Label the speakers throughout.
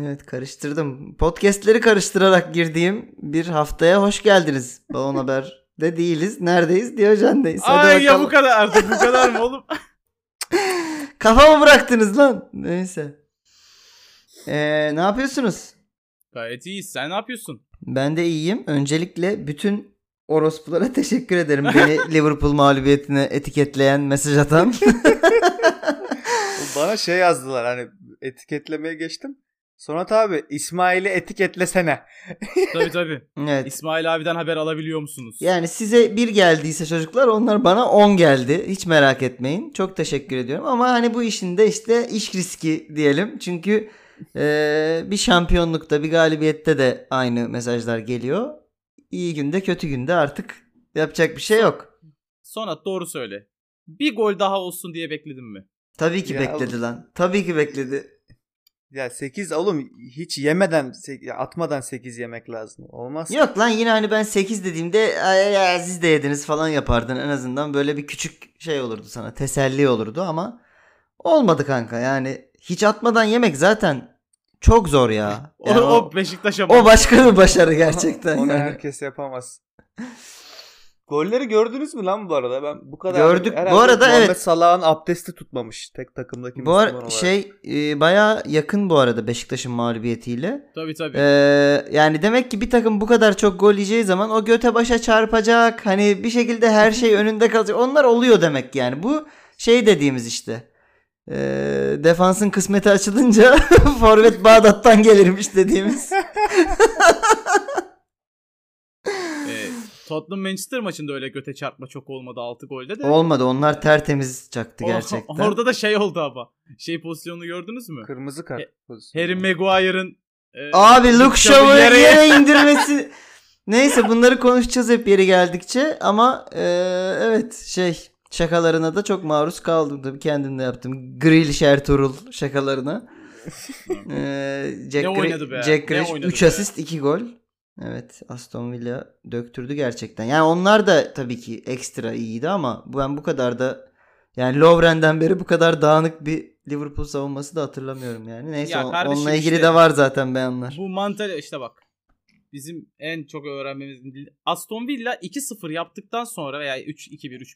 Speaker 1: Evet karıştırdım. Podcast'leri karıştırarak girdiğim bir haftaya hoş geldiniz. Balon Haber de değiliz. Neredeyiz? Diyojen'deyiz. Hadi
Speaker 2: Ay ya bu
Speaker 1: bakalım.
Speaker 2: kadar artık bu kadar mı oğlum?
Speaker 1: Kafamı bıraktınız lan. Neyse. Ee, ne yapıyorsunuz?
Speaker 2: Gayet iyiyiz. Sen ne yapıyorsun?
Speaker 1: Ben de iyiyim. Öncelikle bütün orospulara teşekkür ederim. Beni Liverpool mağlubiyetine etiketleyen, mesaj atan.
Speaker 3: Bana şey yazdılar hani etiketlemeye geçtim. Sonat abi İsmail'i etiketlesene.
Speaker 2: tabii tabii.
Speaker 1: evet.
Speaker 2: İsmail abiden haber alabiliyor musunuz?
Speaker 1: Yani size bir geldiyse çocuklar onlar bana 10 geldi. Hiç merak etmeyin. Çok teşekkür ediyorum. Ama hani bu işin de işte iş riski diyelim. Çünkü e, bir şampiyonlukta bir galibiyette de aynı mesajlar geliyor. İyi günde kötü günde artık yapacak bir şey yok.
Speaker 2: Sonat doğru söyle. Bir gol daha olsun diye bekledin mi?
Speaker 1: Tabii ki
Speaker 3: Ya
Speaker 1: bekledi lan. Tabii ki bekledi.
Speaker 3: Ya 8 oğlum hiç yemeden sek- ya atmadan 8 yemek lazım. Olmaz. ki.
Speaker 1: Yok lan yine hani ben 8 dediğimde ay, ay, ay, siz de yediniz falan yapardın. En azından böyle bir küçük şey olurdu sana. Teselli olurdu ama olmadı kanka. Yani hiç atmadan yemek zaten çok zor ya.
Speaker 2: O,
Speaker 1: Yani
Speaker 2: o,
Speaker 1: o,
Speaker 2: Beşiktaş'a
Speaker 1: o başka bir başarı gerçekten.
Speaker 3: Onu
Speaker 1: yani.
Speaker 3: herkes yapamaz. Golleri gördünüz mü lan bu arada? Ben bu kadar
Speaker 1: Gördük. Bu
Speaker 3: Herhalde
Speaker 1: arada
Speaker 3: Muhammed
Speaker 1: evet.
Speaker 3: Salah'ın abdesti tutmamış tek takımdaki
Speaker 1: Bu
Speaker 3: Müslüman
Speaker 1: ara,
Speaker 3: olarak.
Speaker 1: şey e, bayağı yakın bu arada Beşiktaş'ın mağlubiyetiyle.
Speaker 2: Tabii tabii.
Speaker 1: Ee, yani demek ki bir takım bu kadar çok gol yiyeceği zaman o göte başa çarpacak. Hani bir şekilde her şey önünde kalacak. Onlar oluyor demek yani. Bu şey dediğimiz işte. Ee, defansın kısmeti açılınca forvet Bağdat'tan gelirmiş dediğimiz.
Speaker 2: Ee, Tottenham Manchester maçında öyle göte çarpma çok olmadı 6 golde de.
Speaker 1: Olmadı. Onlar tertemiz çaktı
Speaker 2: O-
Speaker 1: gerçekten.
Speaker 2: Orada da şey oldu ama. Şey pozisyonunu gördünüz mü?
Speaker 3: Kırmızı kart. pozisyonu.
Speaker 2: Harry Maguire'ın e,
Speaker 1: Abi Luke Shaw'ı
Speaker 2: yere-
Speaker 1: yere indirmesi. Neyse bunları konuşacağız hep yeri geldikçe ama e, evet şey şakalarına da çok maruz kaldım tabii kendim de yaptım. Grill Ertuğrul şakalarına. e, Jack
Speaker 2: Ne
Speaker 1: Gri-
Speaker 2: oynadı be?
Speaker 1: Jack
Speaker 2: Ne
Speaker 1: Grealish
Speaker 2: oynadı
Speaker 1: 3
Speaker 2: be?
Speaker 1: asist 2 gol. Evet Aston Villa döktürdü gerçekten. Yani onlar da tabii ki ekstra iyiydi ama ben bu kadar da yani Lovren'den beri bu kadar dağınık bir Liverpool savunması da hatırlamıyorum yani. Neyse
Speaker 2: Ya
Speaker 1: o-
Speaker 2: kardeşim
Speaker 1: onunla ilgili
Speaker 2: işte-
Speaker 1: de var zaten beyanlar.
Speaker 2: Bu mantal işte bak. Bizim en çok öğrenmemiz Aston Villa 2-0 yaptıktan sonra veya 3-2-1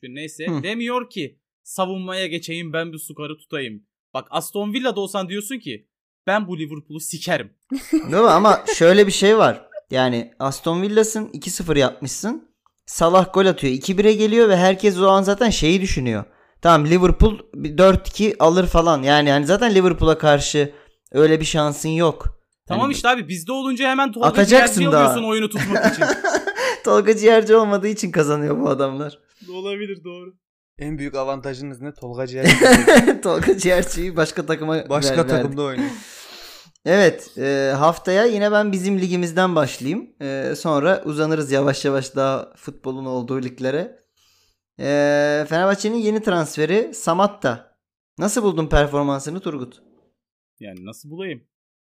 Speaker 2: 3-1 neyse
Speaker 1: Hı.
Speaker 2: demiyor ki savunmaya geçeyim ben bu sukarı tutayım. Bak Aston Villa'da olsan diyorsun ki ben bu Liverpool'u sikerim.
Speaker 1: Değil mi? Ama şöyle bir şey var. Yani Aston Villa'sın 2-0 yapmışsın. Salah gol atıyor. 2-1'e geliyor ve herkes o an zaten şeyi düşünüyor. Tamam Liverpool bir 4-2 alır falan. Yani yani zaten Liverpool'a karşı öyle bir şansın yok.
Speaker 2: Tamam
Speaker 1: Hani-
Speaker 2: işte abi bizde olunca hemen Tolga
Speaker 1: Atacaksın
Speaker 2: Ciğerci
Speaker 1: daha.
Speaker 2: alıyorsun oyunu tutmak için.
Speaker 1: Tolga ciğerci olmadığı için kazanıyor bu adamlar.
Speaker 2: Olabilir doğru.
Speaker 3: En büyük avantajınız ne? Tolga Ciğer.
Speaker 1: Tolga ciğerciyi başka takıma
Speaker 3: Başka
Speaker 1: ver- verdik.
Speaker 3: takımda oynuyor.
Speaker 1: Evet e, haftaya yine ben bizim ligimizden başlayayım. E, sonra uzanırız yavaş yavaş daha futbolun olduğu liglere. E, Fenerbahçe'nin yeni transferi Samatta. Nasıl buldun performansını Turgut?
Speaker 2: Yani nasıl bulayım?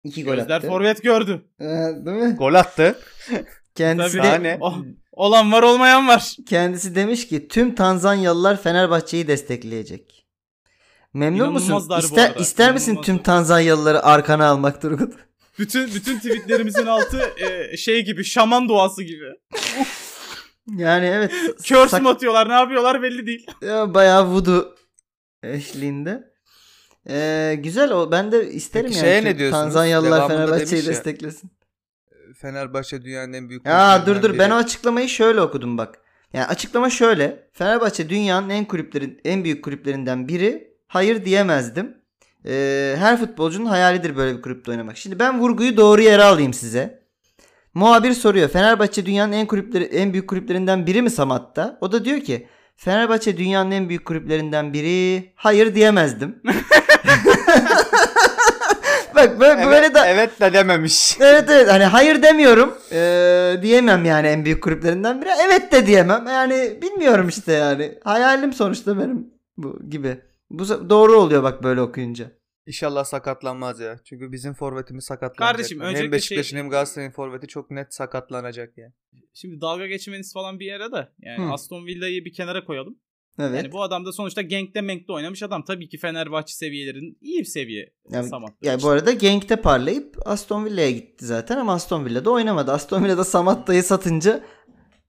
Speaker 1: İki gol
Speaker 2: Gözler
Speaker 1: attı.
Speaker 2: forvet gördü.
Speaker 1: E, değil mi?
Speaker 3: Gol attı.
Speaker 1: Kendisi,
Speaker 2: Tabii.
Speaker 1: de-
Speaker 3: Sahne.
Speaker 2: O- olan var olmayan var.
Speaker 1: kendisi demiş ki tüm Tanzanyalılar Fenerbahçe'yi destekleyecek. Memnun musun?
Speaker 2: İnanılmazlar bu
Speaker 1: İster,
Speaker 2: arada.
Speaker 1: ister misin
Speaker 2: İnanılmazlar.
Speaker 1: tüm Tanzanyalıları arkana almak Turgut?
Speaker 2: Bütün bütün tweetlerimizin altı e, şey gibi şaman duası gibi.
Speaker 1: Yani evet.
Speaker 2: Curse
Speaker 1: sak-
Speaker 2: mü atıyorlar ne yapıyorlar belli değil.
Speaker 1: Ya bayağı voodoo eşliğinde. Ee, güzel o. Ben de isterim
Speaker 3: Peki
Speaker 1: yani.
Speaker 3: şeye ne
Speaker 1: Tüm
Speaker 3: diyorsunuz?
Speaker 1: Tanzanyalılar
Speaker 3: Devamında
Speaker 1: Fenerbahçe'yi
Speaker 3: demiş ya.
Speaker 1: desteklesin.
Speaker 3: Fenerbahçe dünyanın en büyük
Speaker 1: Ya dur
Speaker 3: kulüplerinden
Speaker 1: dur ben
Speaker 3: biri.
Speaker 1: o açıklamayı şöyle okudum bak. Yani açıklama şöyle. Fenerbahçe dünyanın en kulüplerin en büyük kulüplerinden biri. Hayır diyemezdim. Ee, her futbolcunun hayalidir böyle bir kulüpte oynamak. Şimdi ben vurguyu doğru yere alayım size. Muhabir soruyor. Fenerbahçe dünyanın en kulüpleri en büyük kulüplerinden biri mi Samat'ta? O da diyor ki Fenerbahçe dünyanın en büyük kulüplerinden biri. Hayır diyemezdim. Bak böyle,
Speaker 3: Evet,
Speaker 1: böyle de
Speaker 3: evet de dememiş.
Speaker 1: Evet evet hani hayır demiyorum Ee, diyemem yani en büyük kulüplerinden biri evet de diyemem yani bilmiyorum işte yani hayalim sonuçta benim bu gibi bu se- doğru oluyor bak böyle okuyunca
Speaker 3: İnşallah sakatlanmaz ya. Çünkü bizim forvetimiz sakatlanacak.
Speaker 2: Kardeşim, öncelikle
Speaker 3: hem Beşiktaş'ın
Speaker 2: şey-
Speaker 3: hem Galatasaray'ın forveti çok net sakatlanacak yani.
Speaker 2: Şimdi dalga geçmeniz falan bir yere de yani
Speaker 1: Hı.
Speaker 2: Aston Villa'yı bir kenara koyalım.
Speaker 1: Evet.
Speaker 2: Yani bu adam da sonuçta Genk'te Menk'te oynamış adam. Tabii ki Fenerbahçe seviyelerinin iyi bir seviye
Speaker 1: Ya-
Speaker 2: Samat.
Speaker 1: Ya bu arada Genk'te parlayıp Aston Villa'ya gitti zaten ama Aston Villa'da oynamadı. Aston Villa'da Samatta'yı satınca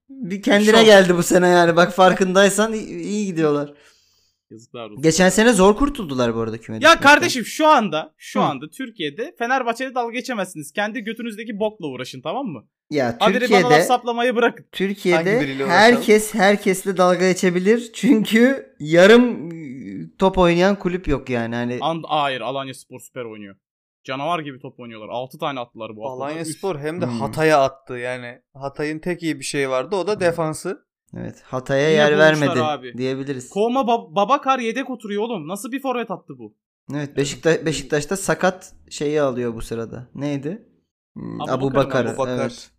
Speaker 1: bir kendine
Speaker 2: Şok.
Speaker 1: geldi bu sene yani. Bak farkındaysan iyi, iyi gidiyorlar.
Speaker 2: Yazıklar olsun.
Speaker 1: Geçen sene zor kurtuldular bu arada kümede.
Speaker 2: Ya kardeşim şu anda şu
Speaker 1: Hı.
Speaker 2: anda Türkiye'de Fenerbahçe'de dalga geçemezsiniz. Kendi götünüzdeki bokla uğraşın tamam mı?
Speaker 1: Ya
Speaker 2: Haberi bana laf
Speaker 1: Türkiye'de
Speaker 2: saplamayı bırakın.
Speaker 3: Hangi
Speaker 1: Türkiye'de
Speaker 3: biriyle
Speaker 1: herkes herkesle dalga geçebilir. Çünkü yarım e, top oynayan kulüp yok yani. Hani
Speaker 2: And hayır Alanya Spor süper oynuyor. Canavar gibi top oynuyorlar. 6 tane attılar bu hafta.
Speaker 3: Alanya
Speaker 2: Üf.
Speaker 3: Spor hem de
Speaker 1: Hmm.
Speaker 3: Hatay'a attı yani. Hatay'ın tek iyi bir şeyi vardı o da defansı.
Speaker 1: evet Hatay'a
Speaker 2: Yine
Speaker 1: yer
Speaker 2: bulmuşlar
Speaker 1: vermedi
Speaker 2: abi.
Speaker 1: diyebiliriz.
Speaker 2: Kovma Bab- Babakar yedek oturuyor oğlum. Nasıl bir forvet attı bu?
Speaker 1: Evet Beşiktaş Beşiktaş'ta sakat şeyi alıyor bu sırada. Neydi? Hmm,
Speaker 2: Abu
Speaker 1: Abu
Speaker 2: Bakar,
Speaker 1: Bakar.
Speaker 3: Bu bakar.
Speaker 1: Evet.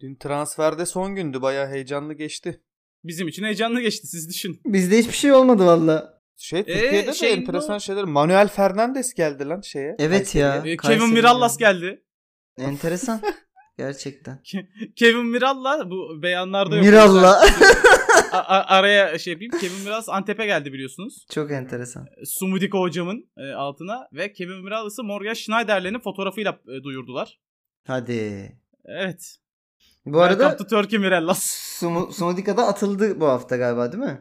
Speaker 3: Dün transferde son gündü bayağı heyecanlı geçti.
Speaker 2: Bizim için heyecanlı geçti siz düşünün.
Speaker 1: Bizde hiçbir şey olmadı valla.
Speaker 2: Ee,
Speaker 3: Şey Türkiye'de de
Speaker 2: şeyinde
Speaker 3: enteresan
Speaker 2: o-
Speaker 3: şeyler. Manuel Fernandes geldi lan şeye.
Speaker 1: Evet ya.
Speaker 3: Kayseri'ye.
Speaker 2: Ee, Kevin
Speaker 1: Kayseri
Speaker 2: Mirallas
Speaker 1: yani.
Speaker 2: geldi.
Speaker 1: Enteresan. Gerçekten.
Speaker 2: Kevin Miralla bu beyanlarda yok.
Speaker 1: Miralla.
Speaker 2: A- a- araya şey yapayım. Kevin Mirallas Antep'e geldi biliyorsunuz.
Speaker 1: Çok enteresan.
Speaker 2: Sumudika hocamın e, altına ve Kevin Mirallas'ı Morgan Schneider'lerin fotoğrafıyla e, duyurdular.
Speaker 1: Hadi.
Speaker 2: Evet.
Speaker 1: Bu arada
Speaker 2: Welcome to Turkey Mirallas.
Speaker 1: Sumu, Sumudika'da atıldı bu hafta galiba değil mi?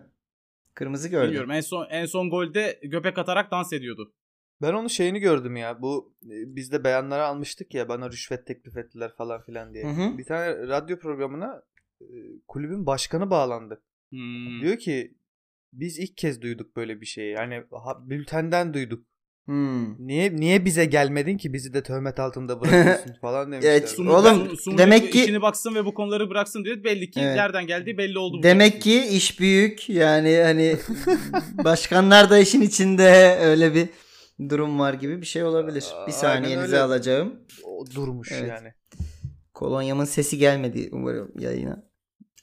Speaker 1: Kırmızı gördü.
Speaker 2: Bilmiyorum. En son en son golde göbek atarak dans ediyordu.
Speaker 3: Ben onun şeyini gördüm ya. Bu e, biz de beyanları almıştık ya bana rüşvet teklif ettiler falan filan diye.
Speaker 1: Hı hı.
Speaker 3: Bir tane radyo programına e, kulübün başkanı bağlandı.
Speaker 2: Hmm.
Speaker 3: Diyor ki biz ilk kez duyduk böyle bir şeyi. Yani ha- bültenden duyduk.
Speaker 1: Hmm.
Speaker 3: Niye niye bize gelmedin ki bizi de töhmet altında bırakıyorsun falan demişler.
Speaker 1: Evet,
Speaker 2: Sumudika-
Speaker 1: Oğlum,
Speaker 2: Sumudika
Speaker 1: demek ki-
Speaker 2: işini baksın ve bu konuları bıraksın diyor. Belli ki
Speaker 1: Evet.
Speaker 2: nereden geldiği belli oldu. bu
Speaker 1: Demek
Speaker 2: konuda.
Speaker 1: ki iş büyük. Yani hani başkanlar da işin içinde öyle bir durum var gibi bir şey olabilir. Bir
Speaker 3: Aynen
Speaker 1: saniyenizi
Speaker 3: öyle.
Speaker 1: alacağım.
Speaker 3: O durmuş
Speaker 1: Evet.
Speaker 3: yani.
Speaker 1: Kolonyamın sesi gelmedi umarım yayına.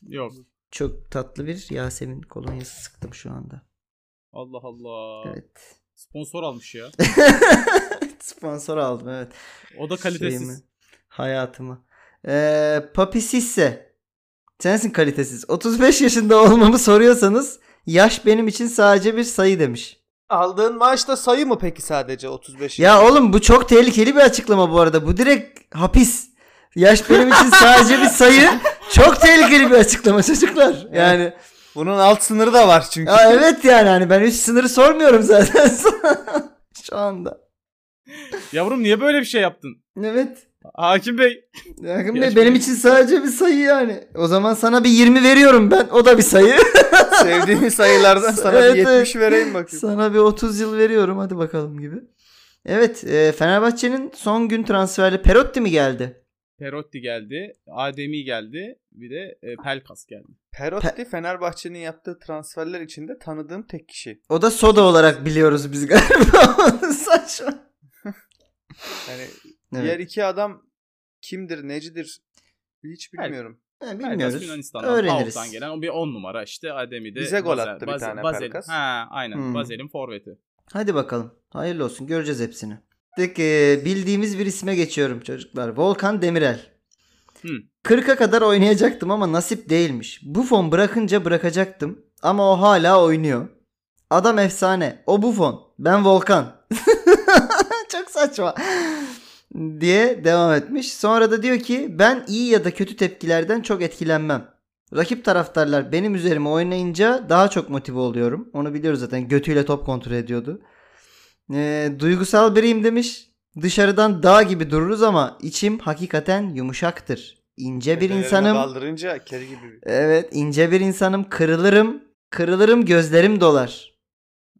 Speaker 2: yok.
Speaker 1: Çok tatlı bir Yasemin kolonyası sıktım şu anda.
Speaker 2: Allah Allah.
Speaker 1: Evet.
Speaker 2: Sponsor almış ya.
Speaker 1: Sponsor aldım evet.
Speaker 2: O da
Speaker 1: Şeyimi,
Speaker 2: kalitesiz.
Speaker 1: hayatımı. Ee, Papi Sisse. Sensin kalitesiz. 35 yaşında olmamı soruyorsanız yaş benim için sadece bir sayı demiş.
Speaker 3: Aldığın maaş da sayı mı peki sadece 35?
Speaker 1: Ya oğlum bu çok tehlikeli bir açıklama bu arada. Bu direkt hapis. Yaş benim için sadece bir sayı. Çok tehlikeli bir açıklama çocuklar. Yani
Speaker 3: Bunun alt sınırı da var çünkü.
Speaker 1: ya evet yani hani ben üç sınırı sormuyorum zaten şu anda.
Speaker 2: Yavrum niye böyle bir şey yaptın?
Speaker 1: Evet.
Speaker 2: Hakim Bey.
Speaker 1: Yakın
Speaker 2: Yaş
Speaker 1: Bey, benim
Speaker 2: benim-
Speaker 1: için sadece bir sayı yani. O zaman sana bir 20 veriyorum ben. O da bir sayı.
Speaker 3: Sevdiğin sayılardan sana
Speaker 1: Evet,
Speaker 3: bir
Speaker 1: evet.
Speaker 3: 70 vereyim bakayım.
Speaker 1: sana bir 30 yıl veriyorum hadi bakalım gibi. Evet e, Fenerbahçe'nin son gün transferli Perotti mi geldi?
Speaker 2: Perotti geldi. Ademi geldi. Bir de e, Pelkas geldi.
Speaker 3: Perotti Fenerbahçe'nin yaptığı transferler içinde tanıdığım tek kişi.
Speaker 1: O da soda olarak biliyoruz biz galiba. Saçma.
Speaker 3: Yani diğer
Speaker 1: Evet.
Speaker 3: iki adam kimdir, necidir hiç bilmiyorum.
Speaker 1: Ha,
Speaker 2: Pelkas
Speaker 1: bilmiyoruz.
Speaker 2: Yunanistan'dan.
Speaker 1: Öğreniriz.
Speaker 2: Öğreniriz. gelen o bir 10 numara işte. Ademi de.
Speaker 3: Bize gol
Speaker 2: Bazel-
Speaker 3: attı bir
Speaker 2: Bazel-
Speaker 3: tane
Speaker 2: Bazel'in-
Speaker 3: Pelkas.
Speaker 2: Ha aynen.
Speaker 1: Hmm.
Speaker 2: Bazel'in forveti.
Speaker 1: Hadi bakalım. Hayırlı olsun. Göreceğiz hepsini. Tek e, bildiğimiz bir isme geçiyorum çocuklar. Volkan Demirel.
Speaker 2: Hı.
Speaker 1: 40'a kadar oynayacaktım ama nasip değilmiş. Buffon bırakınca bırakacaktım ama o hala oynuyor. Adam efsane. O Buffon. Ben Volkan. Çok saçma. diye devam etmiş. Sonra da diyor ki ben iyi ya da kötü tepkilerden çok etkilenmem. Rakip taraftarlar benim üzerime oynayınca daha çok motive oluyorum. Onu biliyoruz zaten. Götüyle top kontrol ediyordu. Ee, duygusal biriyim demiş. Dışarıdan dağ gibi dururuz ama içim hakikaten yumuşaktır. İnce bir
Speaker 3: Efelerine
Speaker 1: insanım.
Speaker 3: Daldırınca kedi gibi.
Speaker 1: Evet ince bir insanım. Kırılırım. Kırılırım gözlerim dolar.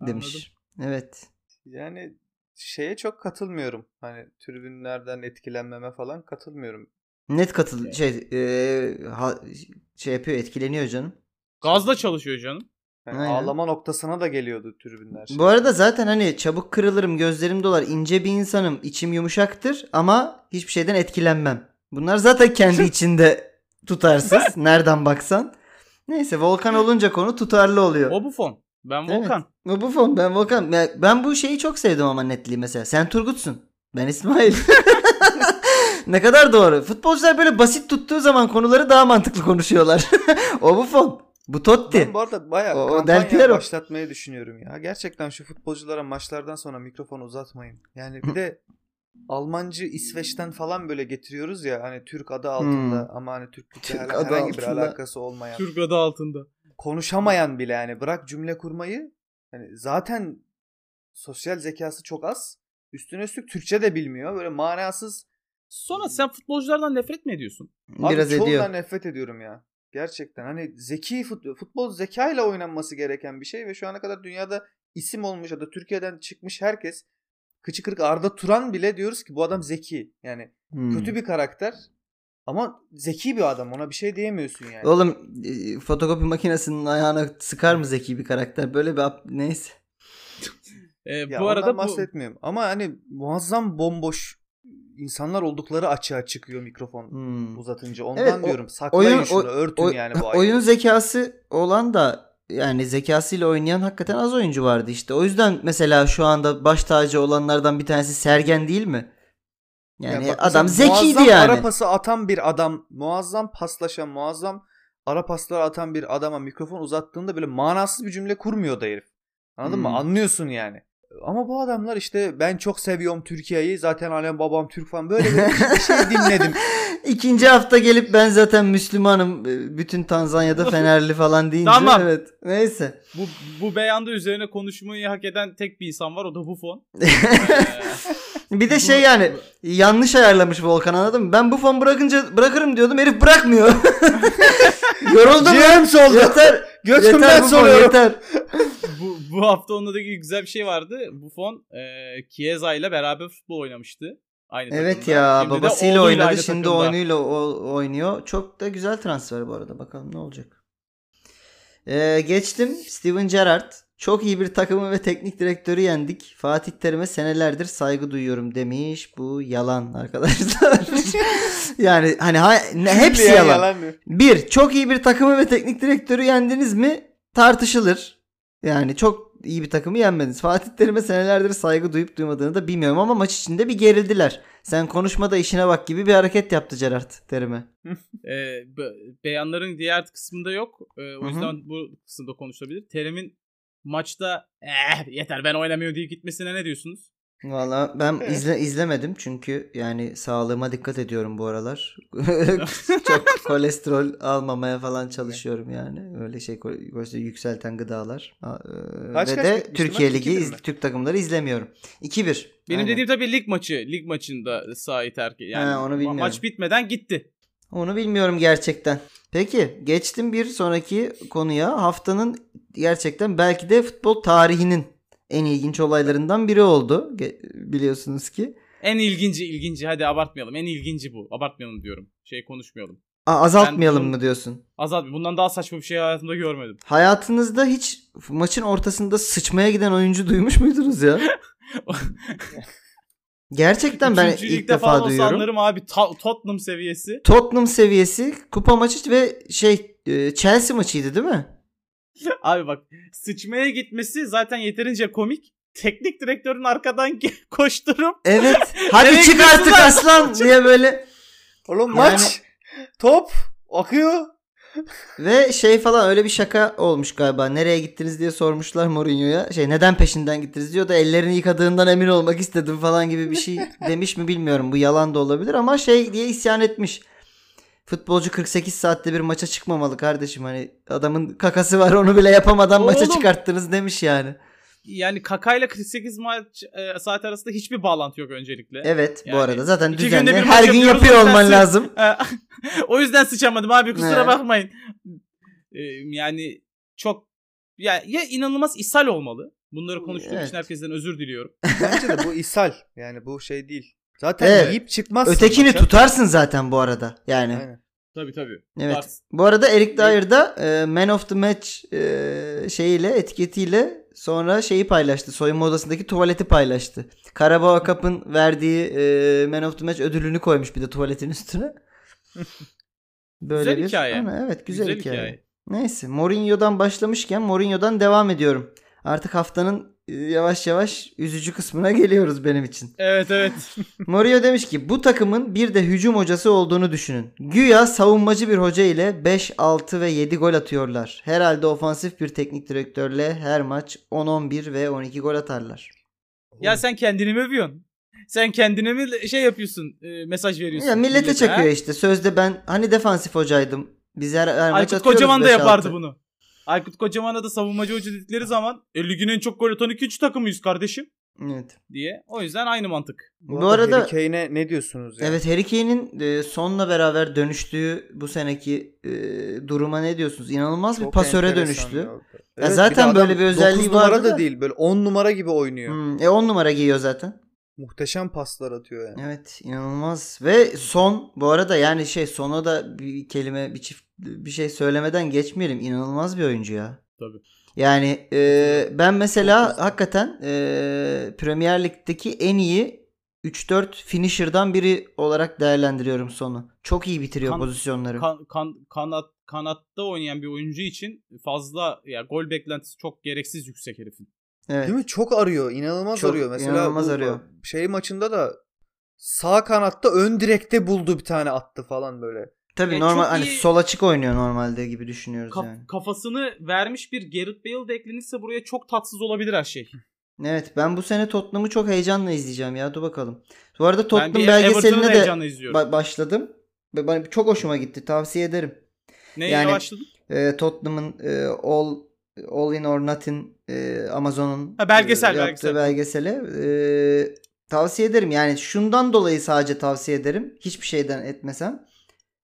Speaker 1: Demiş. Evet.
Speaker 3: Yani şeye çok katılmıyorum. Hani tribünlerden etkilenmeme falan katılmıyorum.
Speaker 1: Net katıl şey e, ha- şey yapıyor etkileniyor canım.
Speaker 2: Gazla çalışıyor canım.
Speaker 3: Yani
Speaker 1: Aynen.
Speaker 3: Hani ağlama noktasına da geliyordu tribünler.
Speaker 1: Bu arada zaten hani çabuk kırılırım, gözlerim dolar, ince bir insanım, içim yumuşaktır ama hiçbir şeyden etkilenmem. Bunlar zaten kendi içinde tutarsız. Nereden baksan. Neyse Volkan olunca konu tutarlı oluyor.
Speaker 2: O bu fon. Ben
Speaker 1: Evet.
Speaker 2: Volkan.
Speaker 1: Bu, bu fon ben Volkan. Ya Ben bu şeyi çok sevdim ama netliği mesela. Sen Turgut'sun. Ben İsmail. ne kadar doğru. Futbolcular böyle basit tuttuğu zaman konuları daha mantıklı konuşuyorlar. o bu fon. Bu Totti.
Speaker 3: Ben bu arada bayağı
Speaker 1: O- o
Speaker 3: kampanya
Speaker 1: Del Piero.
Speaker 3: başlatmayı düşünüyorum ya. Gerçekten şu futbolculara maçlardan sonra mikrofon uzatmayın. Yani bir de Almancı İsveç'ten falan böyle getiriyoruz ya hani Türk adı altında ama hani Türklükle
Speaker 1: Türk
Speaker 3: her-
Speaker 1: adı
Speaker 3: herhangi bir
Speaker 1: altında.
Speaker 3: alakası olmayan.
Speaker 2: Türk adı altında.
Speaker 3: Konuşamayan bile yani bırak cümle kurmayı. Yani zaten sosyal zekası çok az. Üstüne üstlük Türkçe de bilmiyor. Böyle manasız Hmm.
Speaker 2: Sonra sen futbolculardan nefret mi ediyorsun?
Speaker 3: Abi
Speaker 1: Biraz
Speaker 3: çoğundan
Speaker 1: ediyor.
Speaker 3: nefret ediyorum ya. Gerçekten hani zeki futbol, futbol zekayla oynanması gereken bir şey ve şu ana kadar dünyada isim olmuş ya da Türkiye'den çıkmış herkes kıçı kırık Arda Turan bile diyoruz ki bu adam zeki. Yani
Speaker 1: Hmm.
Speaker 3: kötü bir karakter ama zeki bir adam ona bir şey diyemiyorsun yani.
Speaker 1: Oğlum e, fotokopi makinesinin ayağına sıkar mı zeki bir karakter? Böyle bir ap- neyse.
Speaker 2: Ee,
Speaker 3: Ya
Speaker 2: bu arada
Speaker 3: ondan
Speaker 2: bu,
Speaker 3: bahsetmiyorum ama hani muazzam bomboş insanlar oldukları açığa çıkıyor mikrofon
Speaker 1: Hmm.
Speaker 3: uzatınca. Ondan
Speaker 1: Evet, o-
Speaker 3: diyorum saklayın
Speaker 1: oyun-
Speaker 3: şunu
Speaker 1: o-
Speaker 3: örtün
Speaker 1: Oy-
Speaker 3: yani bu
Speaker 1: oyun
Speaker 3: ayıbı.
Speaker 1: zekası olan da yani zekasıyla oynayan hakikaten az oyuncu vardı işte. O yüzden mesela şu anda baş tacı olanlardan bir tanesi Sergen değil mi? Yani
Speaker 3: Ya bak
Speaker 1: adam
Speaker 3: mesela
Speaker 1: zekiydi
Speaker 3: muazzam
Speaker 1: yani.
Speaker 3: Ara pası atan bir adam, muazzam paslaşan, muazzam ara pasları atan bir adama mikrofon uzattığında böyle manasız bir cümle kurmuyor da herif. Anladın
Speaker 1: Hmm.
Speaker 3: mı? Anlıyorsun yani. Ama bu adamlar işte ben çok seviyorum Türkiye'yi. Zaten alem babam Türk falan böyle bir bir şey dinledim.
Speaker 1: İkinci hafta gelip ben zaten Müslümanım e, bütün Tanzanya'da Fenerli falan deyince
Speaker 2: Tamam.
Speaker 1: evet. Neyse.
Speaker 2: bu, bu beyanda üzerine konuşmayı hak eden tek bir insan var o da Buffon.
Speaker 1: bir de şey yani yanlış ayarlamış Volkan anladın mı? Ben bu fon bırakınca bırakırım diyordum herif bırakmıyor. Yoruldum.
Speaker 3: James oldu.
Speaker 1: yeter. Yeter
Speaker 3: Götümden
Speaker 1: bu fon
Speaker 3: soruyorum.
Speaker 1: yeter.
Speaker 2: bu, bu hafta onda da güzel bir şey vardı. Buffon e, Chiesa ile beraber futbol oynamıştı. Aynı
Speaker 1: Evet
Speaker 2: takımda.
Speaker 1: ya
Speaker 2: Şimdi de
Speaker 1: babasıyla
Speaker 2: oğluyla
Speaker 1: oynadı
Speaker 2: aynı
Speaker 1: şimdi
Speaker 2: takımda.
Speaker 1: oyunuyla o- oynuyor. Çok da güzel transfer bu arada bakalım ne olacak. Ee, geçtim Steven Gerrard. Çok iyi bir takımı ve teknik direktörü yendik. Fatih Terim'e senelerdir saygı duyuyorum demiş. Bu yalan arkadaşlar. yani hani ha- ne, hepsi
Speaker 3: Bilmeyen
Speaker 1: yalan.
Speaker 3: diyor.
Speaker 1: Bir, çok iyi bir takımı ve teknik direktörü yendiniz mi? Tartışılır. Yani çok iyi bir takımı yenmediniz. Fatih Terim'e senelerdir saygı duyup duymadığını da bilmiyorum ama maç içinde bir gerildiler. Sen konuşma da işine bak gibi bir hareket yaptı Gerard Terim'e.
Speaker 2: E, be- beyanların diğer kısmında yok. E,
Speaker 1: Hı
Speaker 2: o
Speaker 1: hı.
Speaker 2: yüzden bu kısımda konuşabilir. Terim'in maçta "Eh, yeter ben oynamıyorum diye gitmesine ne diyorsunuz?
Speaker 1: Valla ben izle, izlemedim çünkü yani sağlığıma dikkat ediyorum bu aralar. çok kolesterol almamaya falan çalışıyorum yani. Öyle şey kol- kolesterol yükselten gıdalar. Aa, e,
Speaker 3: Kaç
Speaker 1: Ve
Speaker 3: kaç
Speaker 1: de
Speaker 3: bitmişti
Speaker 1: Türkiye
Speaker 3: maç?
Speaker 1: Ligi
Speaker 3: 2-1
Speaker 1: iz-
Speaker 3: mi?
Speaker 1: Türk takımları izlemiyorum. 2-1.
Speaker 2: Benim
Speaker 1: Aynen.
Speaker 2: dediğim tabii lig maçı. Lig maçında sahayı terk yani
Speaker 1: Ha, onu
Speaker 2: ma-
Speaker 1: bilmiyorum.
Speaker 2: maç bitmeden gitti.
Speaker 1: Onu bilmiyorum gerçekten. Peki geçtim bir sonraki konuya. Haftanın gerçekten belki de futbol tarihinin en ilginç olaylarından biri oldu. Ge- Biliyorsunuz ki.
Speaker 2: En ilginci ilginci hadi abartmayalım. En ilginci bu. Abartmayalım diyorum. Şey konuşmayalım.
Speaker 1: Aa, azaltmayalım
Speaker 2: bunun-
Speaker 1: mı diyorsun?
Speaker 2: Azat bundan daha saçma bir şey hayatımda görmedim.
Speaker 1: Hayatınızda hiç maçın ortasında sıçmaya giden oyuncu duymuş muydunuz ya? Gerçekten ben
Speaker 2: Üçüncü
Speaker 1: ilk
Speaker 2: ligde falan
Speaker 1: defa
Speaker 2: olsa
Speaker 1: duyuyorum.
Speaker 2: anlarım abi Ta- Tottenham seviyesi.
Speaker 1: Tottenham seviyesi kupa maçı ve şey e, Chelsea maçıydı değil mi?
Speaker 2: Abi bak sıçmaya gitmesi zaten yeterince komik. Teknik direktörün arkadan ge- koşturup
Speaker 1: Evet. Hadi
Speaker 2: Nereye
Speaker 1: çık
Speaker 2: gidiyorsun
Speaker 1: artık
Speaker 2: lan?
Speaker 1: aslan diye böyle Yani-
Speaker 3: Oğlum maç, top akıyor.
Speaker 1: Ve şey falan öyle bir şaka olmuş galiba. Nereye gittiniz diye sormuşlar Mourinho'ya. Şey neden peşinden gittiniz diyor da ellerini yıkadığından emin olmak istedim falan gibi bir şey demiş mi bilmiyorum. Bu yalan da olabilir ama şey diye isyan etmiş. Futbolcu 48 saatte bir maça çıkmamalı kardeşim. Hani adamın kakası var onu bile yapamadan maça
Speaker 2: Oğlum.
Speaker 1: çıkarttınız demiş yani.
Speaker 2: yani kakayla 48 maç e, saat arasında hiçbir bağlantı yok öncelikle.
Speaker 1: Evet bu
Speaker 2: Yani
Speaker 1: arada zaten
Speaker 2: iki günde
Speaker 1: düzenli
Speaker 2: bir
Speaker 1: her
Speaker 2: maç
Speaker 1: gün
Speaker 2: yapıyoruz,
Speaker 1: yapıyor
Speaker 2: zaten
Speaker 1: olman
Speaker 2: sı-
Speaker 1: lazım.
Speaker 2: E, o yüzden sıçamadım abi kusura
Speaker 1: Ne?
Speaker 2: bakmayın. E, yani çok ya, ya inanılmaz ishal olmalı. Bunları konuştuğum
Speaker 1: Evet.
Speaker 2: için herkesten özür diliyorum.
Speaker 3: Bence de bu ishal. Yani bu şey değil. Zaten
Speaker 1: Evet.
Speaker 3: yiyip çıkmazsın.
Speaker 1: Ötekini
Speaker 3: maça.
Speaker 1: tutarsın zaten bu arada. Yani
Speaker 3: Aynen.
Speaker 2: Tabii tabii.
Speaker 1: Evet.
Speaker 2: Varsın.
Speaker 1: Bu arada Eric Dyer da e, Man of the Match e, şeyiyle etiketiyle sonra şeyi paylaştı. Soyunma odasındaki tuvaleti paylaştı. Carabao Cup'ın verdiği e, Man of the Match ödülünü koymuş bir de tuvaletin üstüne. Böyle
Speaker 2: Güzel
Speaker 1: bir
Speaker 2: hikaye.
Speaker 1: Ama evet güzel,
Speaker 2: Güzel
Speaker 1: hikaye.
Speaker 2: hikaye.
Speaker 1: Neyse Mourinho'dan başlamışken Mourinho'dan devam ediyorum. Artık haftanın e, yavaş yavaş üzücü kısmına geliyoruz benim için.
Speaker 2: Evet evet.
Speaker 1: Mourinho demiş ki bu takımın bir de hücum hocası olduğunu düşünün. Güya savunmacı bir hoca ile 5, 6 ve 7 gol atıyorlar. Herhalde ofansif bir teknik direktörle her maç 10, 11 ve 12 gol atarlar.
Speaker 2: ya sen kendini mi övüyorsun? Sen kendine mi şey yapıyorsun? e, mesaj veriyorsun.
Speaker 1: Ya millete
Speaker 2: ha?
Speaker 1: çakıyor işte. Sözde ben hani defansif hocaydım. Biz her, her maç
Speaker 2: Aykut
Speaker 1: atıyoruz
Speaker 2: Kocaman da
Speaker 1: 5-6.
Speaker 2: yapardı bunu. Aykut Kocaman'a da savunmacı hoca dedikleri zaman e, ligin en çok gol atan ikinci takımıyız kardeşim
Speaker 1: Evet.
Speaker 2: diye. O yüzden aynı mantık.
Speaker 1: Bu arada-
Speaker 3: Harry Kane'e ne diyorsunuz ya?
Speaker 1: Evet Harry Kane'in e, sonla beraber dönüştüğü bu seneki e, duruma ne diyorsunuz? İnanılmaz bir
Speaker 3: Çok
Speaker 1: pasöre
Speaker 3: enteresan
Speaker 1: dönüştü.
Speaker 3: ya.
Speaker 1: Ya
Speaker 3: bir
Speaker 1: zaten
Speaker 3: de adam
Speaker 1: böyle bir özelliği
Speaker 3: dokuz numara
Speaker 1: vardı
Speaker 3: da
Speaker 1: da.
Speaker 3: değil. Böyle 10 numara gibi oynuyor.
Speaker 1: Hmm, e 10 numara giyiyor zaten.
Speaker 3: Muhteşem paslar atıyor yani.
Speaker 1: Evet inanılmaz ve son bu arada yani şey sona da bir kelime bir çift bir şey söylemeden geçmeyelim. İnanılmaz bir oyuncu ya.
Speaker 2: Tabii.
Speaker 1: Yani e, ben
Speaker 3: Çok
Speaker 1: mesela
Speaker 3: hızlı.
Speaker 1: hakikaten e, Premier Lig'deki en iyi 3-4 finisher'dan biri olarak değerlendiriyorum sonu. Çok iyi bitiriyor
Speaker 2: Kan-
Speaker 1: pozisyonları.
Speaker 2: Kan, kan- kanat kanatta oynayan bir oyuncu için fazla ya gol beklentisi çok gereksiz yüksek herifin.
Speaker 1: evet.
Speaker 3: Değil mi? Çok arıyor. inanılmaz
Speaker 1: Çok
Speaker 3: arıyor. Mesela
Speaker 1: inanılmaz
Speaker 3: bu
Speaker 1: arıyor.
Speaker 3: şey maçında da sağ kanatta ön direkte buldu bir tane attı falan böyle.
Speaker 1: Tabii
Speaker 2: Ya
Speaker 1: normal
Speaker 2: çok
Speaker 1: hani
Speaker 2: iyi-
Speaker 1: sol açık oynuyor normalde gibi düşünüyoruz
Speaker 2: Kaf-
Speaker 1: yani.
Speaker 2: Kafasını vermiş bir Gareth Bale de eklenirse buraya çok tatsız olabilir her şey.
Speaker 1: Evet ben bu sene Tottenham'ı çok heyecanla izleyeceğim ya dur bakalım. Bu arada
Speaker 2: Ben bir
Speaker 1: Tottenham
Speaker 2: Everton'u da
Speaker 1: belgeseline de
Speaker 2: heyecanla izliyorum.
Speaker 1: ba- başladım. Ve bana çok hoşuma gitti tavsiye ederim.
Speaker 2: Neye
Speaker 1: yani-
Speaker 2: başladın?
Speaker 1: Ee, Tottenham'ın e, All All In or Nothing e, Amazon'un
Speaker 2: Ha, belgesel,
Speaker 1: e,
Speaker 2: belgesel.
Speaker 1: yaptığı belgeseli e, tavsiye ederim. Yani şundan dolayı sadece tavsiye ederim. Hiçbir şeyden etmesem.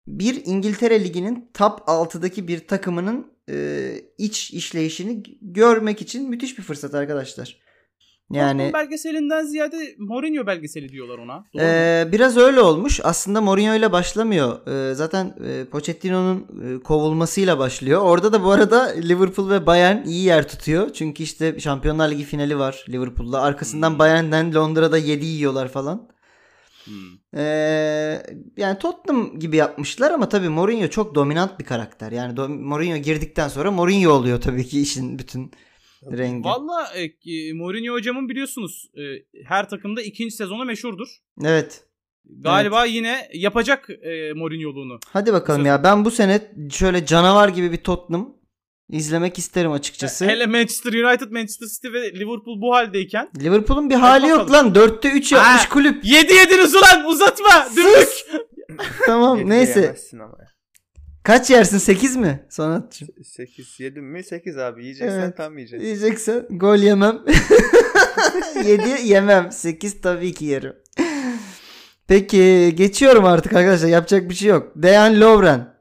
Speaker 1: Bir İngiltere Ligi'nin top 6'daki bir takımının e, iç işleyişini görmek için müthiş bir fırsat arkadaşlar. Yani
Speaker 2: Tottenham belgeselinden ziyade Mourinho belgeseli diyorlar ona. Doğru mu?
Speaker 1: ee, biraz öyle olmuş. Aslında Mourinho ile başlamıyor. Ee, zaten e, Pochettino'nun e, kovulmasıyla başlıyor. Orada da bu arada Liverpool ve Bayern iyi yer tutuyor. Çünkü işte Şampiyonlar Ligi finali var Liverpool'la. Arkasından
Speaker 2: Hmm.
Speaker 1: Bayern'den Londra'da 7 yiyorlar falan.
Speaker 2: Hmm.
Speaker 1: Ee, yani Tottenham gibi yapmışlar ama tabii Mourinho çok dominant bir karakter. Yani do- Mourinho girdikten sonra Mourinho oluyor tabii ki işin bütün rengi.
Speaker 2: Valla e, e, Mourinho hocamın biliyorsunuz e, her takımda ikinci sezonu meşhurdur.
Speaker 1: Evet.
Speaker 2: Galiba yine yapacak e, Mourinho'luğunu.
Speaker 1: Hadi bakalım
Speaker 2: Sözüm.
Speaker 1: ya. Ben bu sene şöyle canavar gibi bir Tottenham izlemek isterim açıkçası.
Speaker 2: Hele Manchester United, Manchester City ve Liverpool bu haldeyken.
Speaker 1: Liverpool'un bir hali yok lan. 4'te 3
Speaker 2: Ha.
Speaker 1: yapmış kulüp.
Speaker 2: 7 yediniz ulan uzatma dümdük.
Speaker 1: Tamam
Speaker 3: Yedi
Speaker 1: neyse.
Speaker 3: diyemezsin ama.
Speaker 1: Kaç yersin? 8 mi? Sonatçım.
Speaker 3: 8 yedim mi? 8 abi yiyeceksen
Speaker 1: Evet.
Speaker 3: tam yiyeceksin.
Speaker 1: Yiyeceksen gol yemem. 7 yemem. 8 tabii ki yerim. Peki geçiyorum artık arkadaşlar. Yapacak bir şey yok. Dejan Lovren.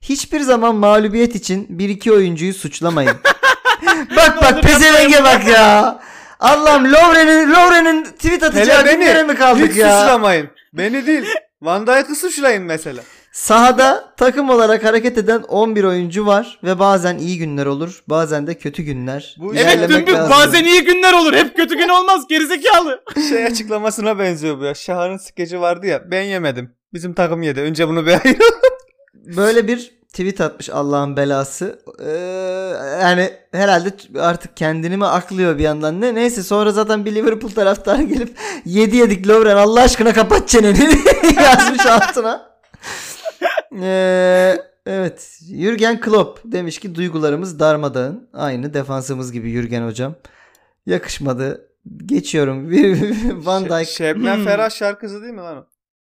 Speaker 1: Hiçbir zaman mağlubiyet için bir iki oyuncuyu suçlamayın. bak
Speaker 2: Doğru,
Speaker 1: bak pezevenge
Speaker 2: yapmayın.
Speaker 1: bak ya. Allah'ım Lovren'in Lovren'in tweet atacağı
Speaker 3: Hele beni,
Speaker 1: günlere mi
Speaker 3: Hiç
Speaker 1: kaldık ya?
Speaker 3: suçlamayın. Beni değil. Van Dijk'ı suçlayın mesela.
Speaker 1: Sahada takım olarak hareket eden 11 oyuncu var ve bazen iyi günler olur, bazen de kötü günler.
Speaker 3: Bu- Evet,
Speaker 2: Evet
Speaker 1: İlerlemek
Speaker 2: dümdük
Speaker 1: lazım.
Speaker 2: bazen iyi günler olur hep kötü gün olmaz gerizekalı.
Speaker 3: Şey açıklamasına benziyor bu ya. Şahan'ın skeci vardı ya. Ben yemedim. Bizim takım yedi. Önce bunu bir ayırın.
Speaker 1: Böyle bir tweet atmış Allah'ın belası. Ee, yani herhalde artık kendini mi aklıyor bir yandan ne neyse sonra zaten bir Liverpool taraftarı gelip yedi yedik Lovren Allah aşkına kapat çeneni yazmış altına. Ee, evet Jürgen Klopp demiş ki duygularımız darmadağın aynı defansımız gibi Jürgen hocam yakışmadı geçiyorum Van
Speaker 3: Şey-
Speaker 1: Dijk
Speaker 3: Şebnem
Speaker 2: Hmm.
Speaker 3: Ferah şarkısı değil mi lan o?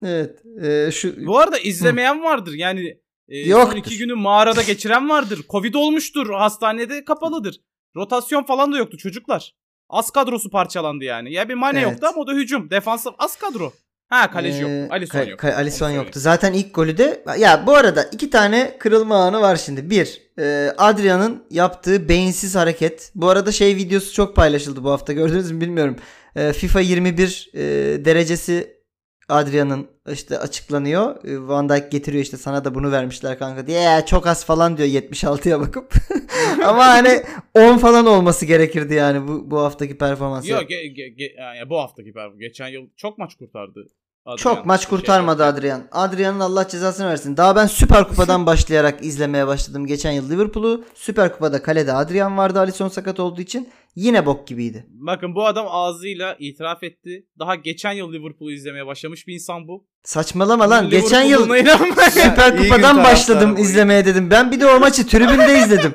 Speaker 1: evet Ee, şu
Speaker 2: Bu arada izlemeyen vardır yani. E,
Speaker 1: Yoktur.
Speaker 2: son iki günü mağarada geçiren vardır. Covid olmuştur hastanede kapalıdır. Rotasyon falan da yoktu çocuklar. Az kadrosu parçalandı yani. Ya bir mane
Speaker 1: Evet. Ee,
Speaker 2: yoktu ama o da hücum. Defansif az kadro. Ha kaleci yok. Alisson
Speaker 1: Ka-
Speaker 2: yok.
Speaker 1: Ka-
Speaker 2: Onu
Speaker 1: Alisson
Speaker 2: söyleyeyim.
Speaker 1: yoktu. Zaten ilk golü de ya bu arada iki tane kırılma anı var şimdi. Bir, e, Adrian'ın yaptığı beyinsiz hareket. Bu arada şey videosu çok paylaşıldı bu hafta. Gördünüz mü bilmiyorum. E, FIFA 21 e, derecesi Adrian'ın işte açıklanıyor. E, Van Dijk getiriyor işte sana da bunu vermişler kanka diye. "Ya, çok az falan diyor 76'ya bakıp. Ama hani 10 falan olması gerekirdi yani bu bu haftaki performansı.
Speaker 2: Yok ge- ge- ge- yani bu haftaki performans. Geçen yıl çok maç kurtardı. Adrian.
Speaker 1: Çok maç
Speaker 2: Şey-
Speaker 1: kurtarmadı Adrian. Adrian'ın Allah cezasını versin. Daha ben Süper Kupa'dan başlayarak izlemeye başladım geçen yıl Liverpool'u. Süper Kupa'da kalede Adrian vardı Alisson sakat olduğu için. Yine bok gibiydi.
Speaker 2: Bakın bu adam ağzıyla itiraf etti. Daha geçen yıl Liverpool'u izlemeye başlamış bir insan bu.
Speaker 1: Saçmalama lan. Geçen yıl
Speaker 2: Liverpool'un inanmayın.
Speaker 3: Ya, iyi
Speaker 1: Süper
Speaker 3: gün
Speaker 1: Kupa'dan
Speaker 3: taraftarı
Speaker 1: başladım
Speaker 3: bu.
Speaker 1: izlemeye dedim. Ben bir de o maçı tribünde izledim.